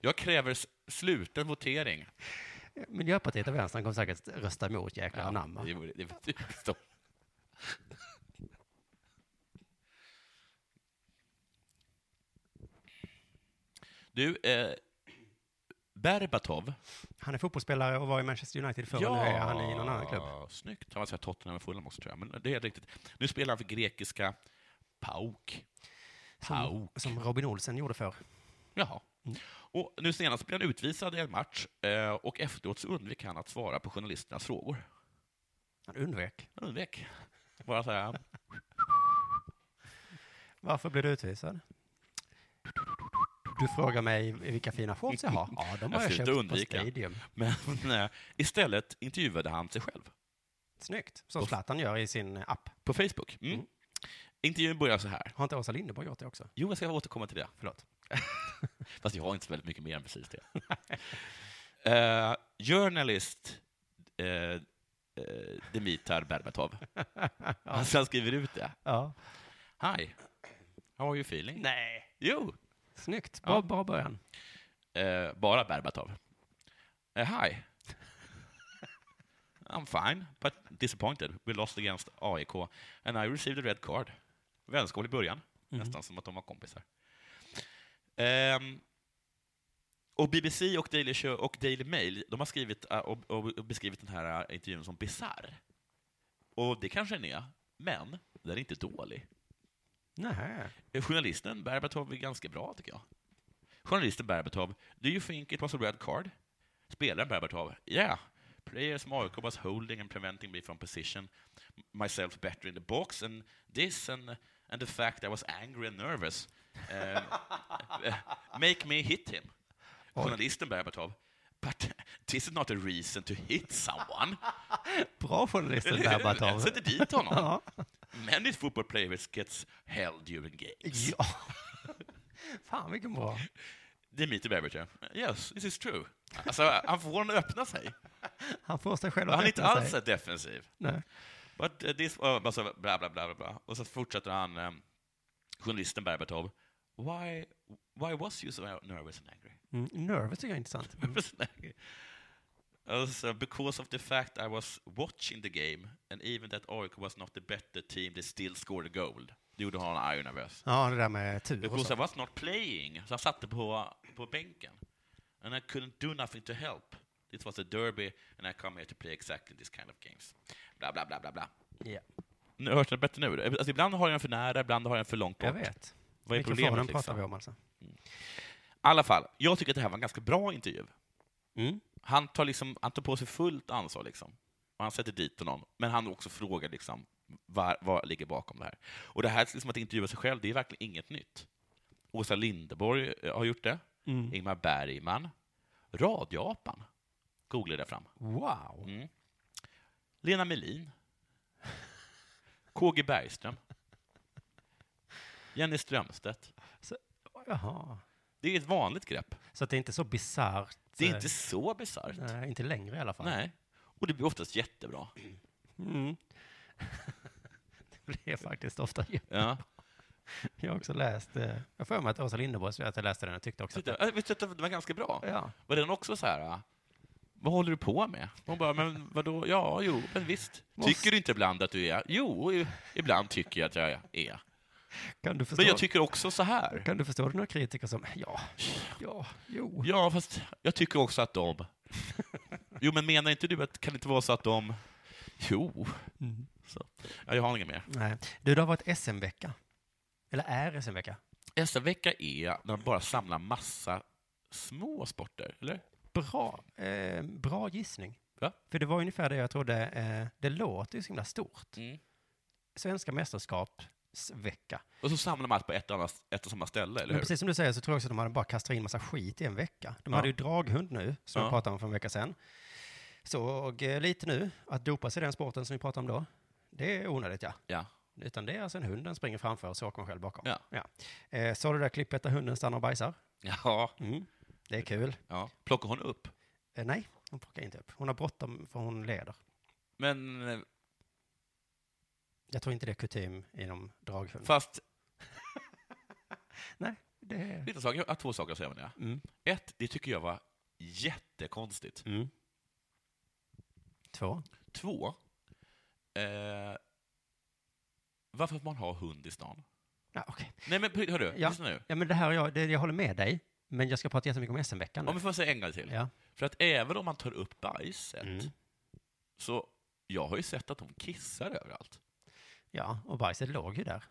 Jag kräver s- sluten votering. Miljöpartiet och Vänstern kommer säkert rösta emot jäklar anamma. det vore- det vore typiskt dem. Du, eh, Berbatov. Han är fotbollsspelare och var i Manchester United förr och nu är han i någon annan klubb. Snyggt. Han var så här Tottenham och Fulham också, tror jag. Men det är helt riktigt. Nu spelar han för grekiska PAOK. Som, Pauk. som Robin Olsen gjorde förr. Jaha. Och nu senast blev han utvisad i en match eh, och efteråt så undvek han att svara på journalisternas frågor. Han undvek. Han undvek. Bara så här, Varför blev du utvisad? Du frågar mig vilka fina shorts jag (laughs) har. Ja, de har Jag jag, försökte köpt undvika. på Stadium. men eh, istället intervjuade han sig själv Snyggt. Som Zlatan gör i sin app. på Facebook. Mm. Intervjun börjar så här. Har inte Åsa Linderborg gjort det också? Jo, jag ska återkomma till det. Förlåt. Fast jag har inte så väldigt mycket mer än precis det. (laughs) Eh, journalist eh, eh, Dimitar (laughs) Berbatov. Han så han skriver ut det. Ja. Hi, how are you feeling? Nej. Jo, Snyggt. Bra, Ja. bra början. Eh, bara Berbatov. Eh, hi. I'm fine, but disappointed. We lost against AIK and I received a red card. Vänskap i början, nästan som att de var kompisar. Ehm, och BBC och Daily Show och Daily Mail, de har skrivit eh, och, och och beskrivit den här eh, intervjun som bisarr. Och det kanske den är, men den är inte dålig. Nej. Eh, Journalisten Berbatov är ganska bra, tycker jag. Journalisten Berbatov, do you think it was a red card? Spelaren Berbatov, yeah. Players from AIK was holding and preventing me from position myself better in the box and this and, and the fact I was angry and nervous eh, make me hit him. Journalisten Berbatov, but this is not a reason to hit someone. Bra journalisten (laughs) (laughs) Berbatov. Sätter dit honom. Ja. Many football players gets held during games. ja. (laughs) Fan vilken bra. Dimitri Berbatov. Yes, this is true. Alltså, han får den att öppna sig. Han får sig själv att Han är inte öppna alls sig. så defensiv. Nej. But uh, this, uh, alltså, bla, bla, bla, bla, bla. Och så fortsätter han, um, journalisten Berbatov. Why, why was you so nervous and angry? Mm. Nervous tycker jag är intressant. (laughs) Nervous and angry. Alltså, because of the fact I was watching the game and even that AIK was not the better team, they still scored a goal. Det gjorde honom arg och nervös. Ja, det där med tur och Because så. I was not playing, så han satte på, på bänken. And I couldn't do nothing to help. It was a derby and I come here to play exactly this kind of games. Bla, bla, bla, bla, bla. Ja. Nu hörs det bättre nu? Alltså, ibland har jag den för nära, ibland har jag den för långt bort. Jag vet. Vad är Mikrofonen problemet? pratar vi Liksom? I om alltså. alla fall, jag tycker att det här var en ganska bra intervju. Mm. Han tar, liksom, han tar på sig fullt ansvar, liksom. och han sätter dit honom. Men han också frågar liksom, vad, vad ligger bakom det här. Och det här liksom att intervjua sig själv, det är verkligen inget nytt. Åsa Linderborg eh, har gjort det. Mm. Ingmar Bergman. Radioapan googlade jag fram. Wow. Lena (laughs) Melin. KG Bergström. Jenny Strömstedt. Så, jaha. Det är ett vanligt grepp. Så att det är inte så bisarrt. Det är eh, inte så bisarrt. Nej. Nej, inte längre i alla fall. Och det blir oftast jättebra. Mm. (laughs) det är faktiskt ofta Ja. Jag har också läst, eh, jag har för mig att Åsa Linderborg, att jag läste den och tyckte också att Titta, jag visste att det var ganska bra. Ja. Var den också så här, ah, vad håller du på med? Hon bara, men vadå, ja, jo, men visst. Tycker du inte ibland att du är? Jo, i- ibland tycker jag att jag är. Kan du förstå? Men jag tycker också så här. Kan du förstå några kritiker som, ja, ja, jo. Ja, fast jag tycker också att de... Jo, men menar inte du att kan det inte vara så att de... Jo. Mm. Så. Ja, jag har inget mer. Nej. Du, det har varit SM-vecka. Eller är SM-vecka. SM-vecka är när man bara samlar massa små sporter, eller? Bra, eh, bra gissning. Ja. För det var ungefär det jag trodde, eh, det låter ju så himla stort. Mm. Svenska mästerskapsvecka. Och så samlar man allt på ett, och annat, ett och samma ställe, eller Men hur? precis som du säger så tror jag också att de hade bara kastat in massa skit i en vecka. De Ja. hade ju draghund nu, som Ja. vi pratade om för en vecka sedan. Såg eh, lite nu, att dopa sig i den sporten som vi pratade om då, det är onödigt ja. Ja. Utan det är alltså en hund, den springer framför och så åker man själv bakom. Ja. Eh, såg du det där klippet där hunden stannar och bajsar? Ja. Mm. Det är kul. ja. Plockar hon upp? Eh, nej, hon plockar inte upp. Hon har bråttom för hon leder. Men eh, Jag tror inte det är kutym inom draghund. fast, Det är... lite saker, jag har två saker att säga om det. mm. Ett, det tycker jag var jättekonstigt. Mm. Två. Två, eh, varför får man ha hund i stan? Ja, okej. Nej men hör du, Ja. lyssna nu. ja, men det här, jag, det, jag håller med dig, men jag ska prata jättemycket om SM-veckan nu. Om vi får säga en gång till. Ja. För att även om man tar upp bajset, Mm. så jag har ju sett att de kissar överallt. ja, och bajset låg ju där.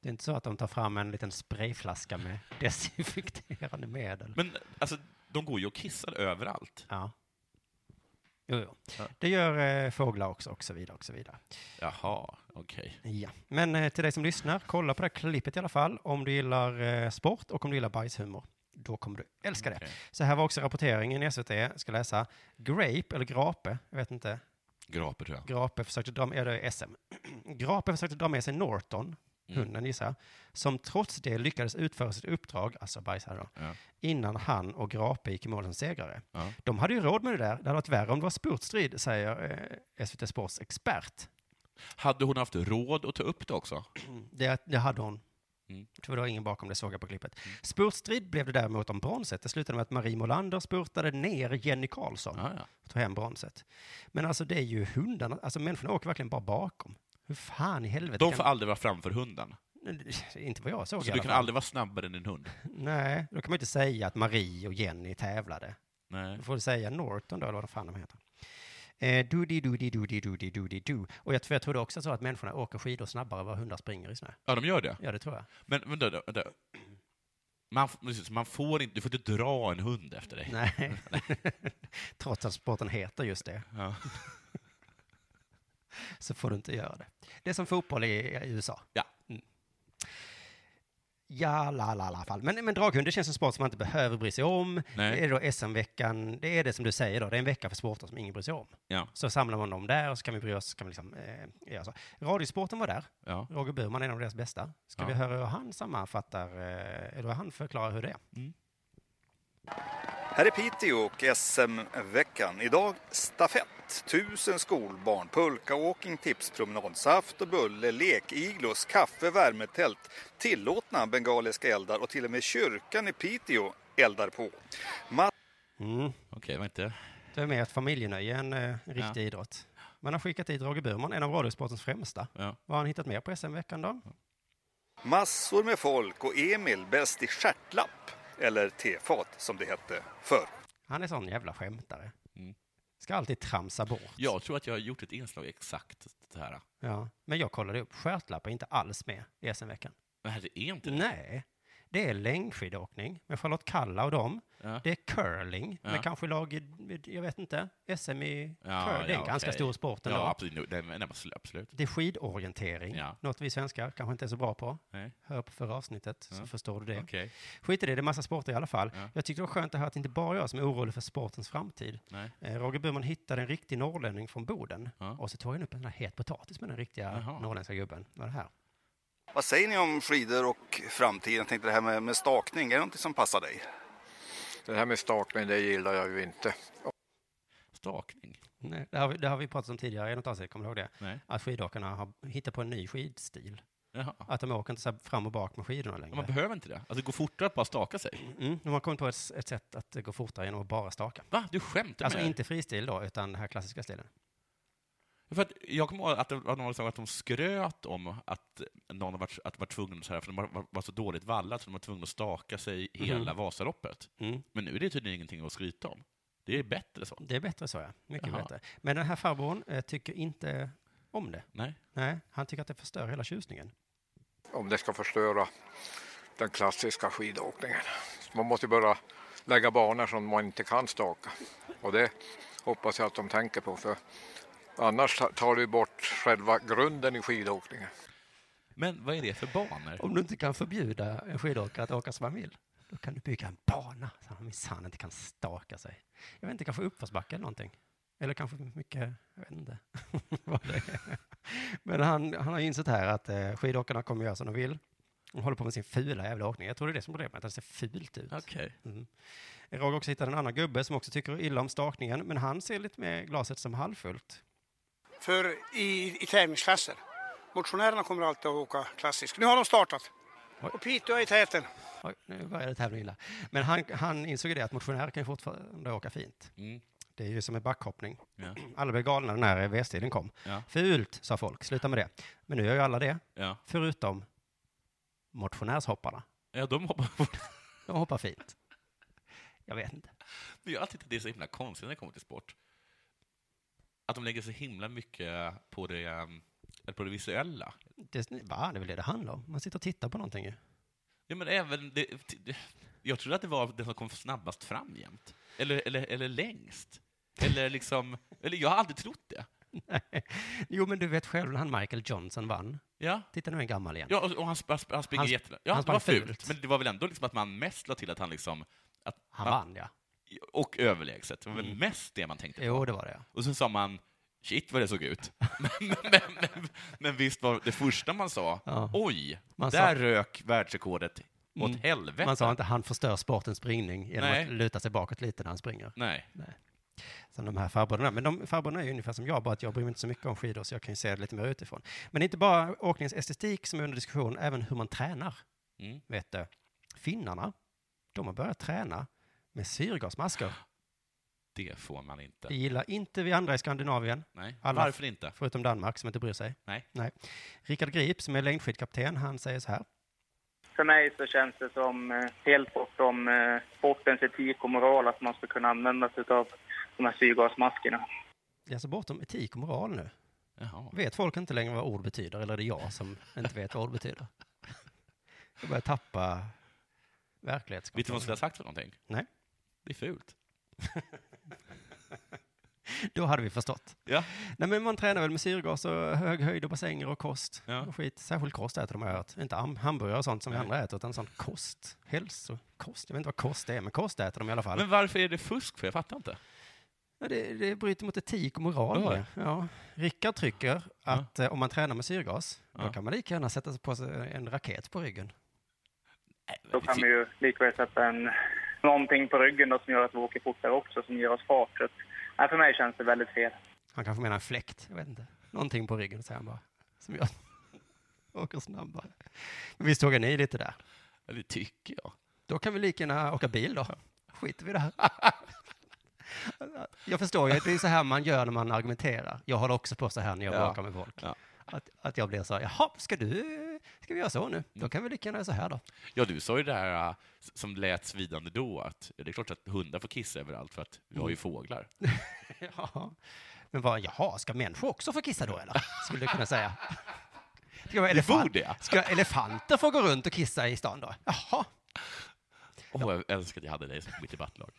Det är inte så att de tar fram en liten sprayflaska (laughs) med desinfekterande medel. Men alltså, de går ju och kissar överallt. Ja. Jo, jo. Ja. Det gör eh, fåglar också, och så vidare, och så vidare. Jaha, okej. Ja. Men eh, till dig som lyssnar, kolla på det här klippet i alla fall, om du gillar eh, sport och om du gillar bajshumor. Då kommer du älska det. Okej. Så här var också rapporteringen i SVT, jag ska läsa. Grape, eller Grape, jag vet inte. Graper tror jag. Grape försökte dra med, ja, det är SM. (clears throat) Grape försökte dra med sig Norton, Mm. hunden gissar jag, som trots det lyckades utföra sitt uppdrag, alltså bajsade då, Ja. innan han och Grape gick i mål som segrare. Ja. De hade ju råd med det där, det hade varit värre om det var spurtstrid, säger eh, SVT Sports expert. Hade hon haft råd att ta upp det också? Det, det hade hon. Mm. För det var ingen bakom det, såg jag på klippet. Spurtstrid blev det däremot om bronset. Det slutade med att Marie Molander spurtade ner Jenny Karlsson Ja, ja. och tog hem bronset. Men alltså det är ju hundarna, alltså människorna åker verkligen bara bakom. Hur fan i helvete De kan- får aldrig vara framför hunden. (laughs) Inte vad jag såg i Så du alla kan fall. aldrig vara snabbare än din hund. Nej, då kan man ju inte säga att Marie och Jenny tävlade. Nej. Då får du säga Norton då, eller vad fan de heter. Eh, doody, doody, doody, doody, doody, do. Och jag, för jag trodde också så att människorna åker skidor snabbare än vad hundar springer i snö. Ja, de gör det. Ja, det tror jag. Men vänta, vänta, vänta. Man, f- precis, man får inte, du får inte dra en hund efter dig. Nej. (laughs) Trots att sporten heter just det, Ja. så får du inte göra det. Det är som fotboll i, i USA. Ja. Mm. Ja, la, la, la, fall. Men, men draghund, det känns som sport som man inte behöver bry sig om. Nej. Det är då SM-veckan, det är det som du säger då, det är en vecka för sporter som ingen bryr sig om. Ja. Så samlar man dem där och så kan vi bry oss, så kan vi liksom, eh, göra så. Radiosporten var där, Ja. Roger Burman är en av deras bästa. Ska Ja. vi höra hur han sammanfattar, eh, eller hur han förklarar hur det är? Här är Piteå och SM-veckan. Idag stafett, tusen skolbarn, pulkaåkning, tipspromenad, saft och bulle, lek, iglos, kaffe, värmetält, tillåtna bengaliska eldar och till och med kyrkan i Piteå eldar på. Matt Mm. Okej, var inte... Det är mer ett familjenöje än eh, en riktig idrott. Man har skickat dit Roger Burman, en av radiosportens främsta. Ja. Vad har han hittat mer på SM-veckan då? massor med folk och Emil bäst i stjärtlapp, eller tefat som det hette förr. Han är sån jävla skämtare. Mm. Ska alltid tramsa bort. Jag tror att jag har gjort ett inslag exakt det här. Ja. Men jag kollade upp, stjärtlapp är inte alls med i SM-veckan. Men det är inte det. Nej, det är längdskidåkning med Charlotte Kalla och dem. Ja. Det är curling Ja. med kanske lag, i- jag vet inte, SM i curling. Det är en ja, ganska okej. stor sport ändå. Ja, absolut. Nej, men- nej, men absolut, absolut. Det är skidorientering, Ja. något vi svenskar kanske inte är så bra på. Nej. Hör på förra avsnittet så Ja. förstår du det. Okej. Skit i det, det är massa sporter i alla fall. Ja. Jag tyckte det var skönt att höra att det inte bara är jag som är orolig för sportens framtid. Nej. Eh, Roger Burman hittade en riktig norrlänning från Boden Ja. och så tog han upp en sån här het potatis med den riktiga Jaha. norrländska gubben. Vad är det här? Vad säger ni om skidor och framtiden? Jag tänkte det här med, med stakning, är det något som passar dig? Det här med stakning, det gillar jag ju inte. Stakning? Nej, det, har vi, det har vi pratat om tidigare i något avsnitt, kommer du ihåg det? Nej. Att skidåkarna har hittat på en ny skidstil. Jaha. Att de åker inte så här fram och bak med skidorna längre. Man behöver inte det. Alltså, det går fortare att bara staka sig. Mm, de har kommit på ett, ett sätt att gå fortare genom att bara staka. Va? Du skämtar Alltså med mig? inte fristil då, utan den här klassiska stilen. För att jag kommer ihåg att det var någon som sa att de skröt om att någon var, att var tvungen, så här, för de var, var- var så dåligt vallade så de var tvungna att staka sig hela Vasaloppet. Mm. Men nu är det tydligen ingenting att skryta om. Det är bättre så. Det är bättre så, ja. Mycket Jaha. bättre. Men den här farbrorn eh, tycker inte om det. Nej. Nej, han tycker att det förstör hela tjusningen. om det ska förstöra den klassiska skidåkningen. Man måste börja lägga banor som man inte kan staka. Och det hoppas jag att de tänker på för annars ta- tar du bort själva grunden i skidåkningen. Men vad är det för banor? Om du inte kan förbjuda en skidåkare att åka som han vill, då kan du bygga en bana så han minsann inte kan staka sig. Jag vet inte, kanske uppförsbacke eller någonting. Eller kanske mycket, jag vet inte (laughs) vad det är. Men han, han har ju insett här att eh, skidåkarna kommer göra som de vill. De håller på med sin fula jävla åkning. Jag tror det är det som är problemet, att det ser fult ut. Okej. Mm. Roger också hittade en annan gubbe som också tycker illa om stakningen, men han ser lite mer glaset som halvfullt. för i, i tävlingsklasser. Motionärerna kommer alltid att åka klassiskt. Nu har de startat. Oj. Och Piteå är i täten. Oj, nu började tävlingen illa. Men han, han insåg ju det att motionärer kan ju fortfarande åka fint. Mm. Det är ju som en backhoppning. Ja. (clears throat) Alla blev galna när VS-stilen kom. Ja. Fult, sa folk. Sluta med det. Men nu gör ju alla det, Ja. förutom motionärshopparna. ja, de hoppar fort. De hoppar fint. Jag vet inte. Men jag har alltid tyckt det är så himla konstigt när det kommer till sport. Att de lägger så himla mycket på det, um, eller på det visuella. Det, va? det är väl det det handlar om? Man sitter och tittar på någonting ju. Ja, men även det, det- jag trodde att det var den som kom snabbast fram jämt. Eller, eller, eller längst. Eller liksom, eller jag har aldrig trott det. Jo, men du vet själv när han Michael Johnson vann. Ja, Titta, nu är han gammal igen. ja och, och han, sp- han, sp- han springer Han sp- jättelångt. Ja, han det var sprang fult. fult. Men det var väl ändå liksom att man mest la till att han liksom, att Han man- vann, Mm. ja. och överlägset. Det var väl mest det man tänkte på. Jo, det var det. ja. Och sen sa man, shit vad det såg ut. (laughs) men, men, men, men visst var det första man sa, Ja. oj, Man sa- där rök världsrekordet åt Mm. helvete. Man sa inte han förstör sportens springning genom Nej. att luta sig bakåt lite när han springer. Nej. Som de här farbröderna. Men de farbröderna är ju ungefär som jag, bara att jag bryr mig inte så mycket om skidor så jag kan ju se det lite mer utifrån. Men det är inte bara åkningens estetik som är under diskussion, även hur man tränar. Mm. Vet du, finnarna, de har börjat träna med syrgasmasker. Det får man inte. Det gillar inte vi andra i Skandinavien, Nej. Alla- Varför inte? förutom Danmark som inte bryr sig. Nej. Rickard Grip som är längdskidkapten, han säger så här. För mig så känns det som eh, helt bortom eh, sportens etik och moral att man ska kunna använda sig av de här syrgasmaskerna. Det är alltså bortom etik och moral nu. Jaha. Vet folk inte längre vad ord betyder, eller är det jag som inte vet vad ord betyder? Jag börjar tappa Vet du vad man skulle verklighetskontrollen. ha sagt för någonting? Nej. Det är fult. Då hade vi förstått. Ja. Nej, men man tränar väl med syrgas och hög höjd och bassänger och kost. Ja. Och skit. Särskilt kost äter de har jag hört. Inte am- hamburgare och sånt som Nej. vi andra äter, utan sånt kost. Hälsokost. Jag vet inte vad kost är, men kost äter de i alla fall. Men varför är det fusk? För jag fattar inte. Ja, det, det bryter mot etik och moral. Ja. det. Ja. Rickard trycker att eh, om man tränar med syrgas, Ja. då kan man lika gärna sätta sig på sig en raket på ryggen. Nej, men Då det kan fin- vi ju likväl sätta en, någonting på ryggen då som gör att vi åker fortare också, som ger oss fart. Så, att- nej, för mig känns det väldigt fel. Han kanske menar en fläkt, jag vet inte. Någonting på ryggen säger han bara. Som jag (laughs) åker snabbare. Men visst tågar ni lite där? Ja, det tycker jag. Då kan vi lika gärna åka bil då. Skiter vi i det här. (laughs) Jag förstår ju, det är så här man gör när man argumenterar. Jag håller också på så här när jag Ja. bråkar med folk. Ja. Att, att jag blir så här, jaha, ska, du, ska vi göra så nu? Mm. Då kan vi lika gärna göra så (laughs) här då. Ja, du sa ju det här äh, s- som lät svidande då, att ja, det är klart att hundar får kissa överallt för att vi Mm. har (laughs) ju fåglar. Jaha. Men vad, jaha, ska människor också få kissa då eller? Skulle du kunna säga. Ska, vara elefant- borde jag. ska elefanter få gå runt och kissa i stan då? Jaha. Åh, jag önskar att jag hade dig som mitt debattlag.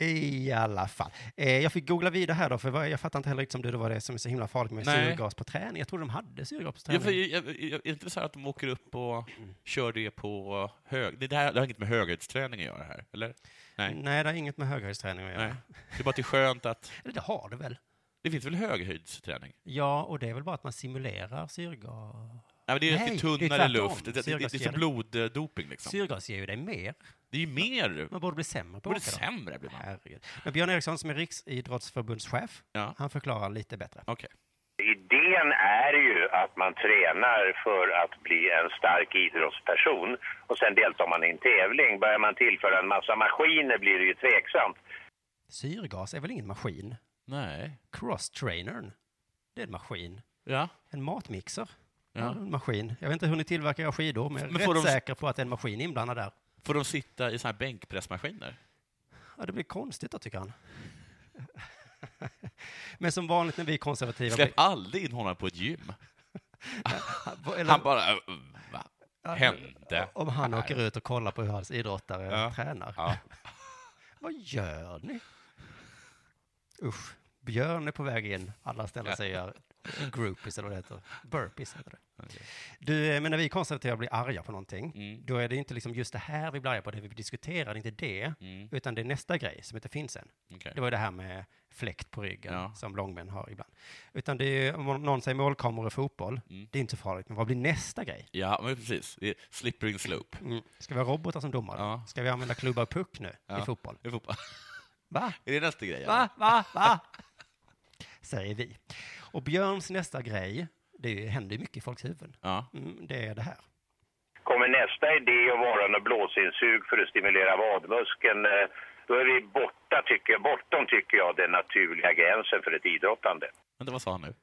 I alla fall. Eh, jag fick googla vidare här då, för vad- jag fattar inte heller riktigt som du, det var det som är så himla farligt med Nej. syrgas på träning. Jag trodde de hade syrgas på Ja, träning. för, jag, jag, jag, är det inte så här att de åker upp och kör det på hög... Det, det, här, det har inget med höghöjdsträning att göra här, eller? Nej. Nej, det har inget med höghöjdsträning att göra. Nej. Det är bara att det är skönt att... Eller det har det väl? Det finns väl höghöjdsträning? Ja, och det är väl bara att man simulerar syrgas. Nej, men det är Nej, Nej, det är tunnare tvärtom. luft. Det, det, det, det är som Syrgasfjäder. bloddoping, liksom. Syrgas ger ju dig mer. Det är ju mer... Man borde bli sämre på Både att åka då. sämre blir man. Herregud. Men Björn Eriksson som är Riksidrottsförbundschef, Ja. han förklarar lite bättre. Okej. Idén är ju att man tränar för att bli en stark idrottsperson och sen deltar man i en tävling. Börjar man tillföra en massa maskiner blir det ju tveksamt. Syrgas är väl ingen maskin? Nej. Cross-trainern Det är en maskin. Ja. En matmixer. Ja. Ja. en maskin. Jag vet inte hur ni tillverkar era skidor, men jag är Men får rätt de- säker på att det är en maskin inblandad där. Får de sitta i såna här bänkpressmaskiner? Ja, det blir konstigt då, tycker han. (laughs) men som vanligt när vi är konservativa... Släpp aldrig in honom på ett gym. eller- Han bara... "Äh, Va? Hände? Om han åker ut och kollar på hur hans idrottare Ja. tränar. Ja. (laughs) Vad gör ni? Usch. Björn är på väg in. Alla ställer (laughs) sig och gör groupies eller vad det heter. Burpees heter det. Du, eh, men när vi konservativa blir arga på någonting, Mm. då är det inte liksom just det här vi blir arga på, det vi diskuterar, det är inte det, utan det är nästa grej som inte finns än. Mm. Okej. Det var det här med fläkt på ryggen Ja. som långmän har ibland. Utan det är, ju- om någon säger målkameror i fotboll, Mm. det är inte så farligt, men vad blir nästa grej? Ja, men precis. Det är Slippery slope. Mm. Ska vi ha robotar som domare? Ja. Ska vi använda klubba och puck nu Ja. i fotboll? I fotboll. (laughs) Va? Är det nästa grej? eller? Va? Va? Va? Säger vi. Och Björns nästa grej, det är ju- händer ju mycket i folks huvuden. Ja. Mm, det är det här. Kommer nästa idé att vara något blåsinsug för att stimulera vadmuskeln, eh, då är vi borta, tycker jag, bortom tycker jag, den naturliga gränsen för ett idrottande. Vänta, vad sa han nu?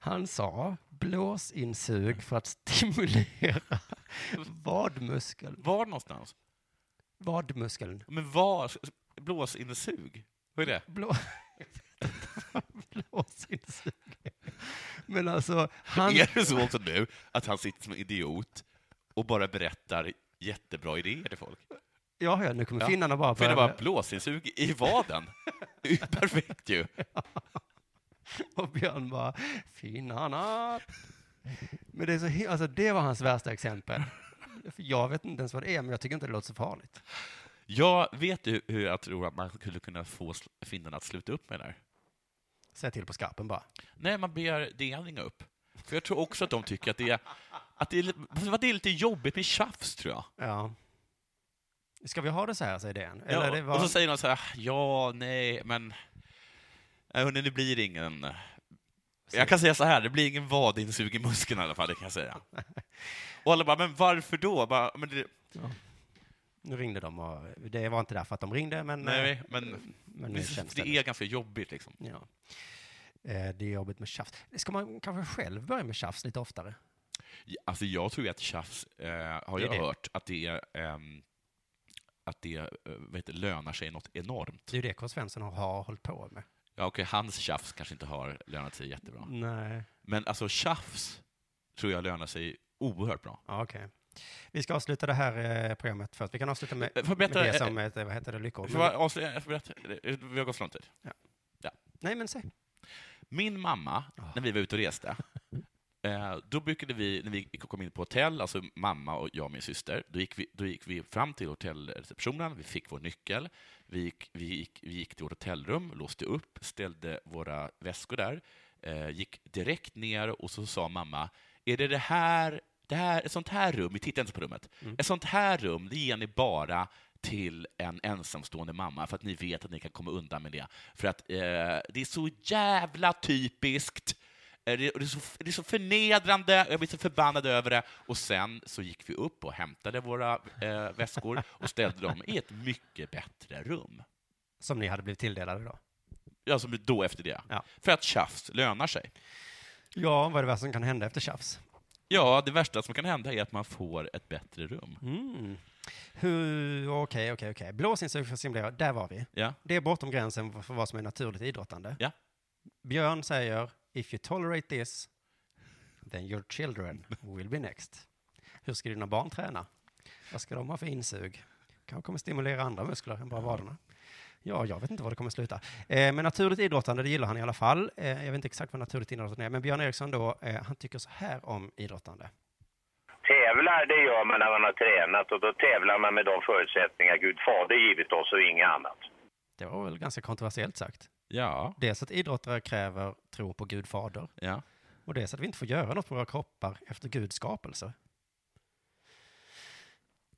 Han sa blåsinsug för att (laughs) stimulera vadmuskeln. Var någonstans? Vadmuskeln. Men var? Blåsinsug? Vad är det? Blå... (laughs) blåsinsug. Men alltså, han... Är det så också nu att han sitter som en idiot och bara berättar jättebra idéer till folk? Ja, ja, nu kommer Ja. finnarna bara För det börja- var blåsinsug i vaden. Det är ju Perfekt ju. Och Björn bara, finnarna. Men det, är så, hi- alltså, det var hans värsta exempel. För Jag vet inte ens vad det är, men jag tycker inte det låter så farligt. Jag vet ju hur jag tror att man skulle kunna få sl- finnarna att sluta upp med det här. Säg till på skarpen bara. Nej, man ber DN ringa upp. För jag tror också att de tycker att det är, att det är, li- att det är lite jobbigt med tjafs, tror jag. Ja. Ska vi ha det så här, säger DN? Ja, Eller det var... Och så säger de så här, ja, nej, men... Nej, Hörni, det blir ingen... Jag kan säga så här, det blir ingen vadinsugen i muskeln i alla fall, det kan jag säga. Och alla bara, men varför då? Bara, men det, Nu ringde de och det var inte därför att de ringde, men... nej, eh, men men nu det, känns det. det är ganska jobbigt liksom. Ja. Eh, Det är jobbigt med tjafs. Ska man kanske själv börja med tjafs lite oftare? Alltså, jag tror ju att tjafs, eh, har Det är jag det. hört, att det är... ehm, att det eh, vad heter, det, lönar sig något enormt. Det är ju det K. Svensson har- har hållit på med. Ja, okej, hans tjafs kanske inte har lönat sig jättebra. Nej. Men alltså tjafs tror jag lönar sig oerhört bra. Ja, okej. Vi ska avsluta det här eh, programmet först. Vi kan avsluta med, Eh, får jag med berätta, det eh, som, ett, eh, vad heter det, lyckor. Får jag bara avslöja, jag får berätta, Eh, vi har gått så lång tid. Nej, men säg. Min mamma, när vi var ute och reste, eh, då brukade vi, när vi kom in på hotell, alltså mamma och jag och min syster, då gick vi, då gick vi fram till hotellreceptionen, vi fick vår nyckel, vi gick, vi gick, vi gick till vårt hotellrum, låste upp, ställde våra väskor där, eh, gick direkt ner och så sa mamma, är det det här, det här, ett sånt här rum, vi tittade inte på rummet, ett sånt här rum, det ger ni bara till en ensamstående mamma för att ni vet att ni kan komma undan med det. För att eh, det är så jävla typiskt. Eh, Det och det är, så, det är så förnedrande, jag blir så förbannad över det. Och sen så gick vi upp och hämtade våra eh, väskor och ställde dem i ett mycket bättre rum. Som ni hade blivit tilldelade då. Alltså då efter det. Ja. För att tjafs lönar sig. Ja, vad är det värsta som kan hända efter tjafs? Ja, det värsta som kan hända är att man får ett bättre rum. Mm. Hur, okej, okej, okej. Blåsinsug för att simulera, där var vi. Ja. Det är bortom gränsen för vad som är naturligt idrottande. Ja. Björn säger, if you tolerate this, then your children will be next. Hur ska dina barn träna? Vad ska de ha för insug? Kanske kommer stimulera andra muskler än bara vaderna. Ja, jag vet inte var det kommer sluta. Eh, men naturligt idrottande, det gillar han i alla fall. Eh, jag vet inte exakt vad naturligt idrottande är, men Björn Eriksson då, eh, han tycker så här om idrottande. Tävlar, det gör man när man har tränat och då tävlar man med de förutsättningar Gud Fader givit oss och inget annat. Det var väl ganska kontroversiellt sagt. Ja, Dels att idrottare kräver tro på Gud fader ja. och dels att vi inte får göra något på våra kroppar efter Guds skapelse.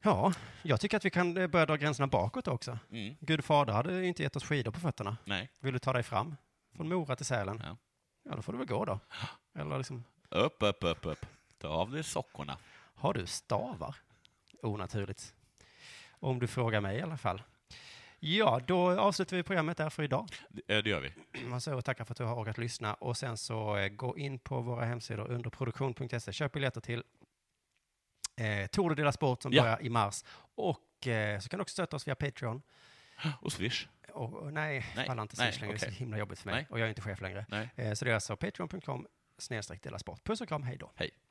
Ja, jag tycker att vi kan eh, börja dra gränserna bakåt också. Mm. Gud fader hade ju inte gett oss skidor på fötterna. Nej. Vill du ta dig fram från Mora till Sälen? Ja. ja då får du väl gå då. Eller liksom, Upp, upp, upp, upp. Ta av dig sockorna. har du stavar? Onaturligt. Om du frågar mig i alla fall. Ja, då avslutar vi programmet där för idag. Eh, Det gör vi. Man så tackar för att du har orkat lyssna och sen så eh, gå in på våra hemsidor under produktion.se. Köp biljetter till eh, Tour de Dela Sport som Ja. börjar i mars. Och eh, så kan du också stötta oss via Patreon. Och Swish. Och, och nej, Nej, pallar inte nej, Swish längre. Det är okej. så himla jobbigt för mig. Nej. Och jag är inte chef längre. Nej. Eh, så det är alltså patreon.com snedstreck dela sport. Puss och kram, hej då. Hej.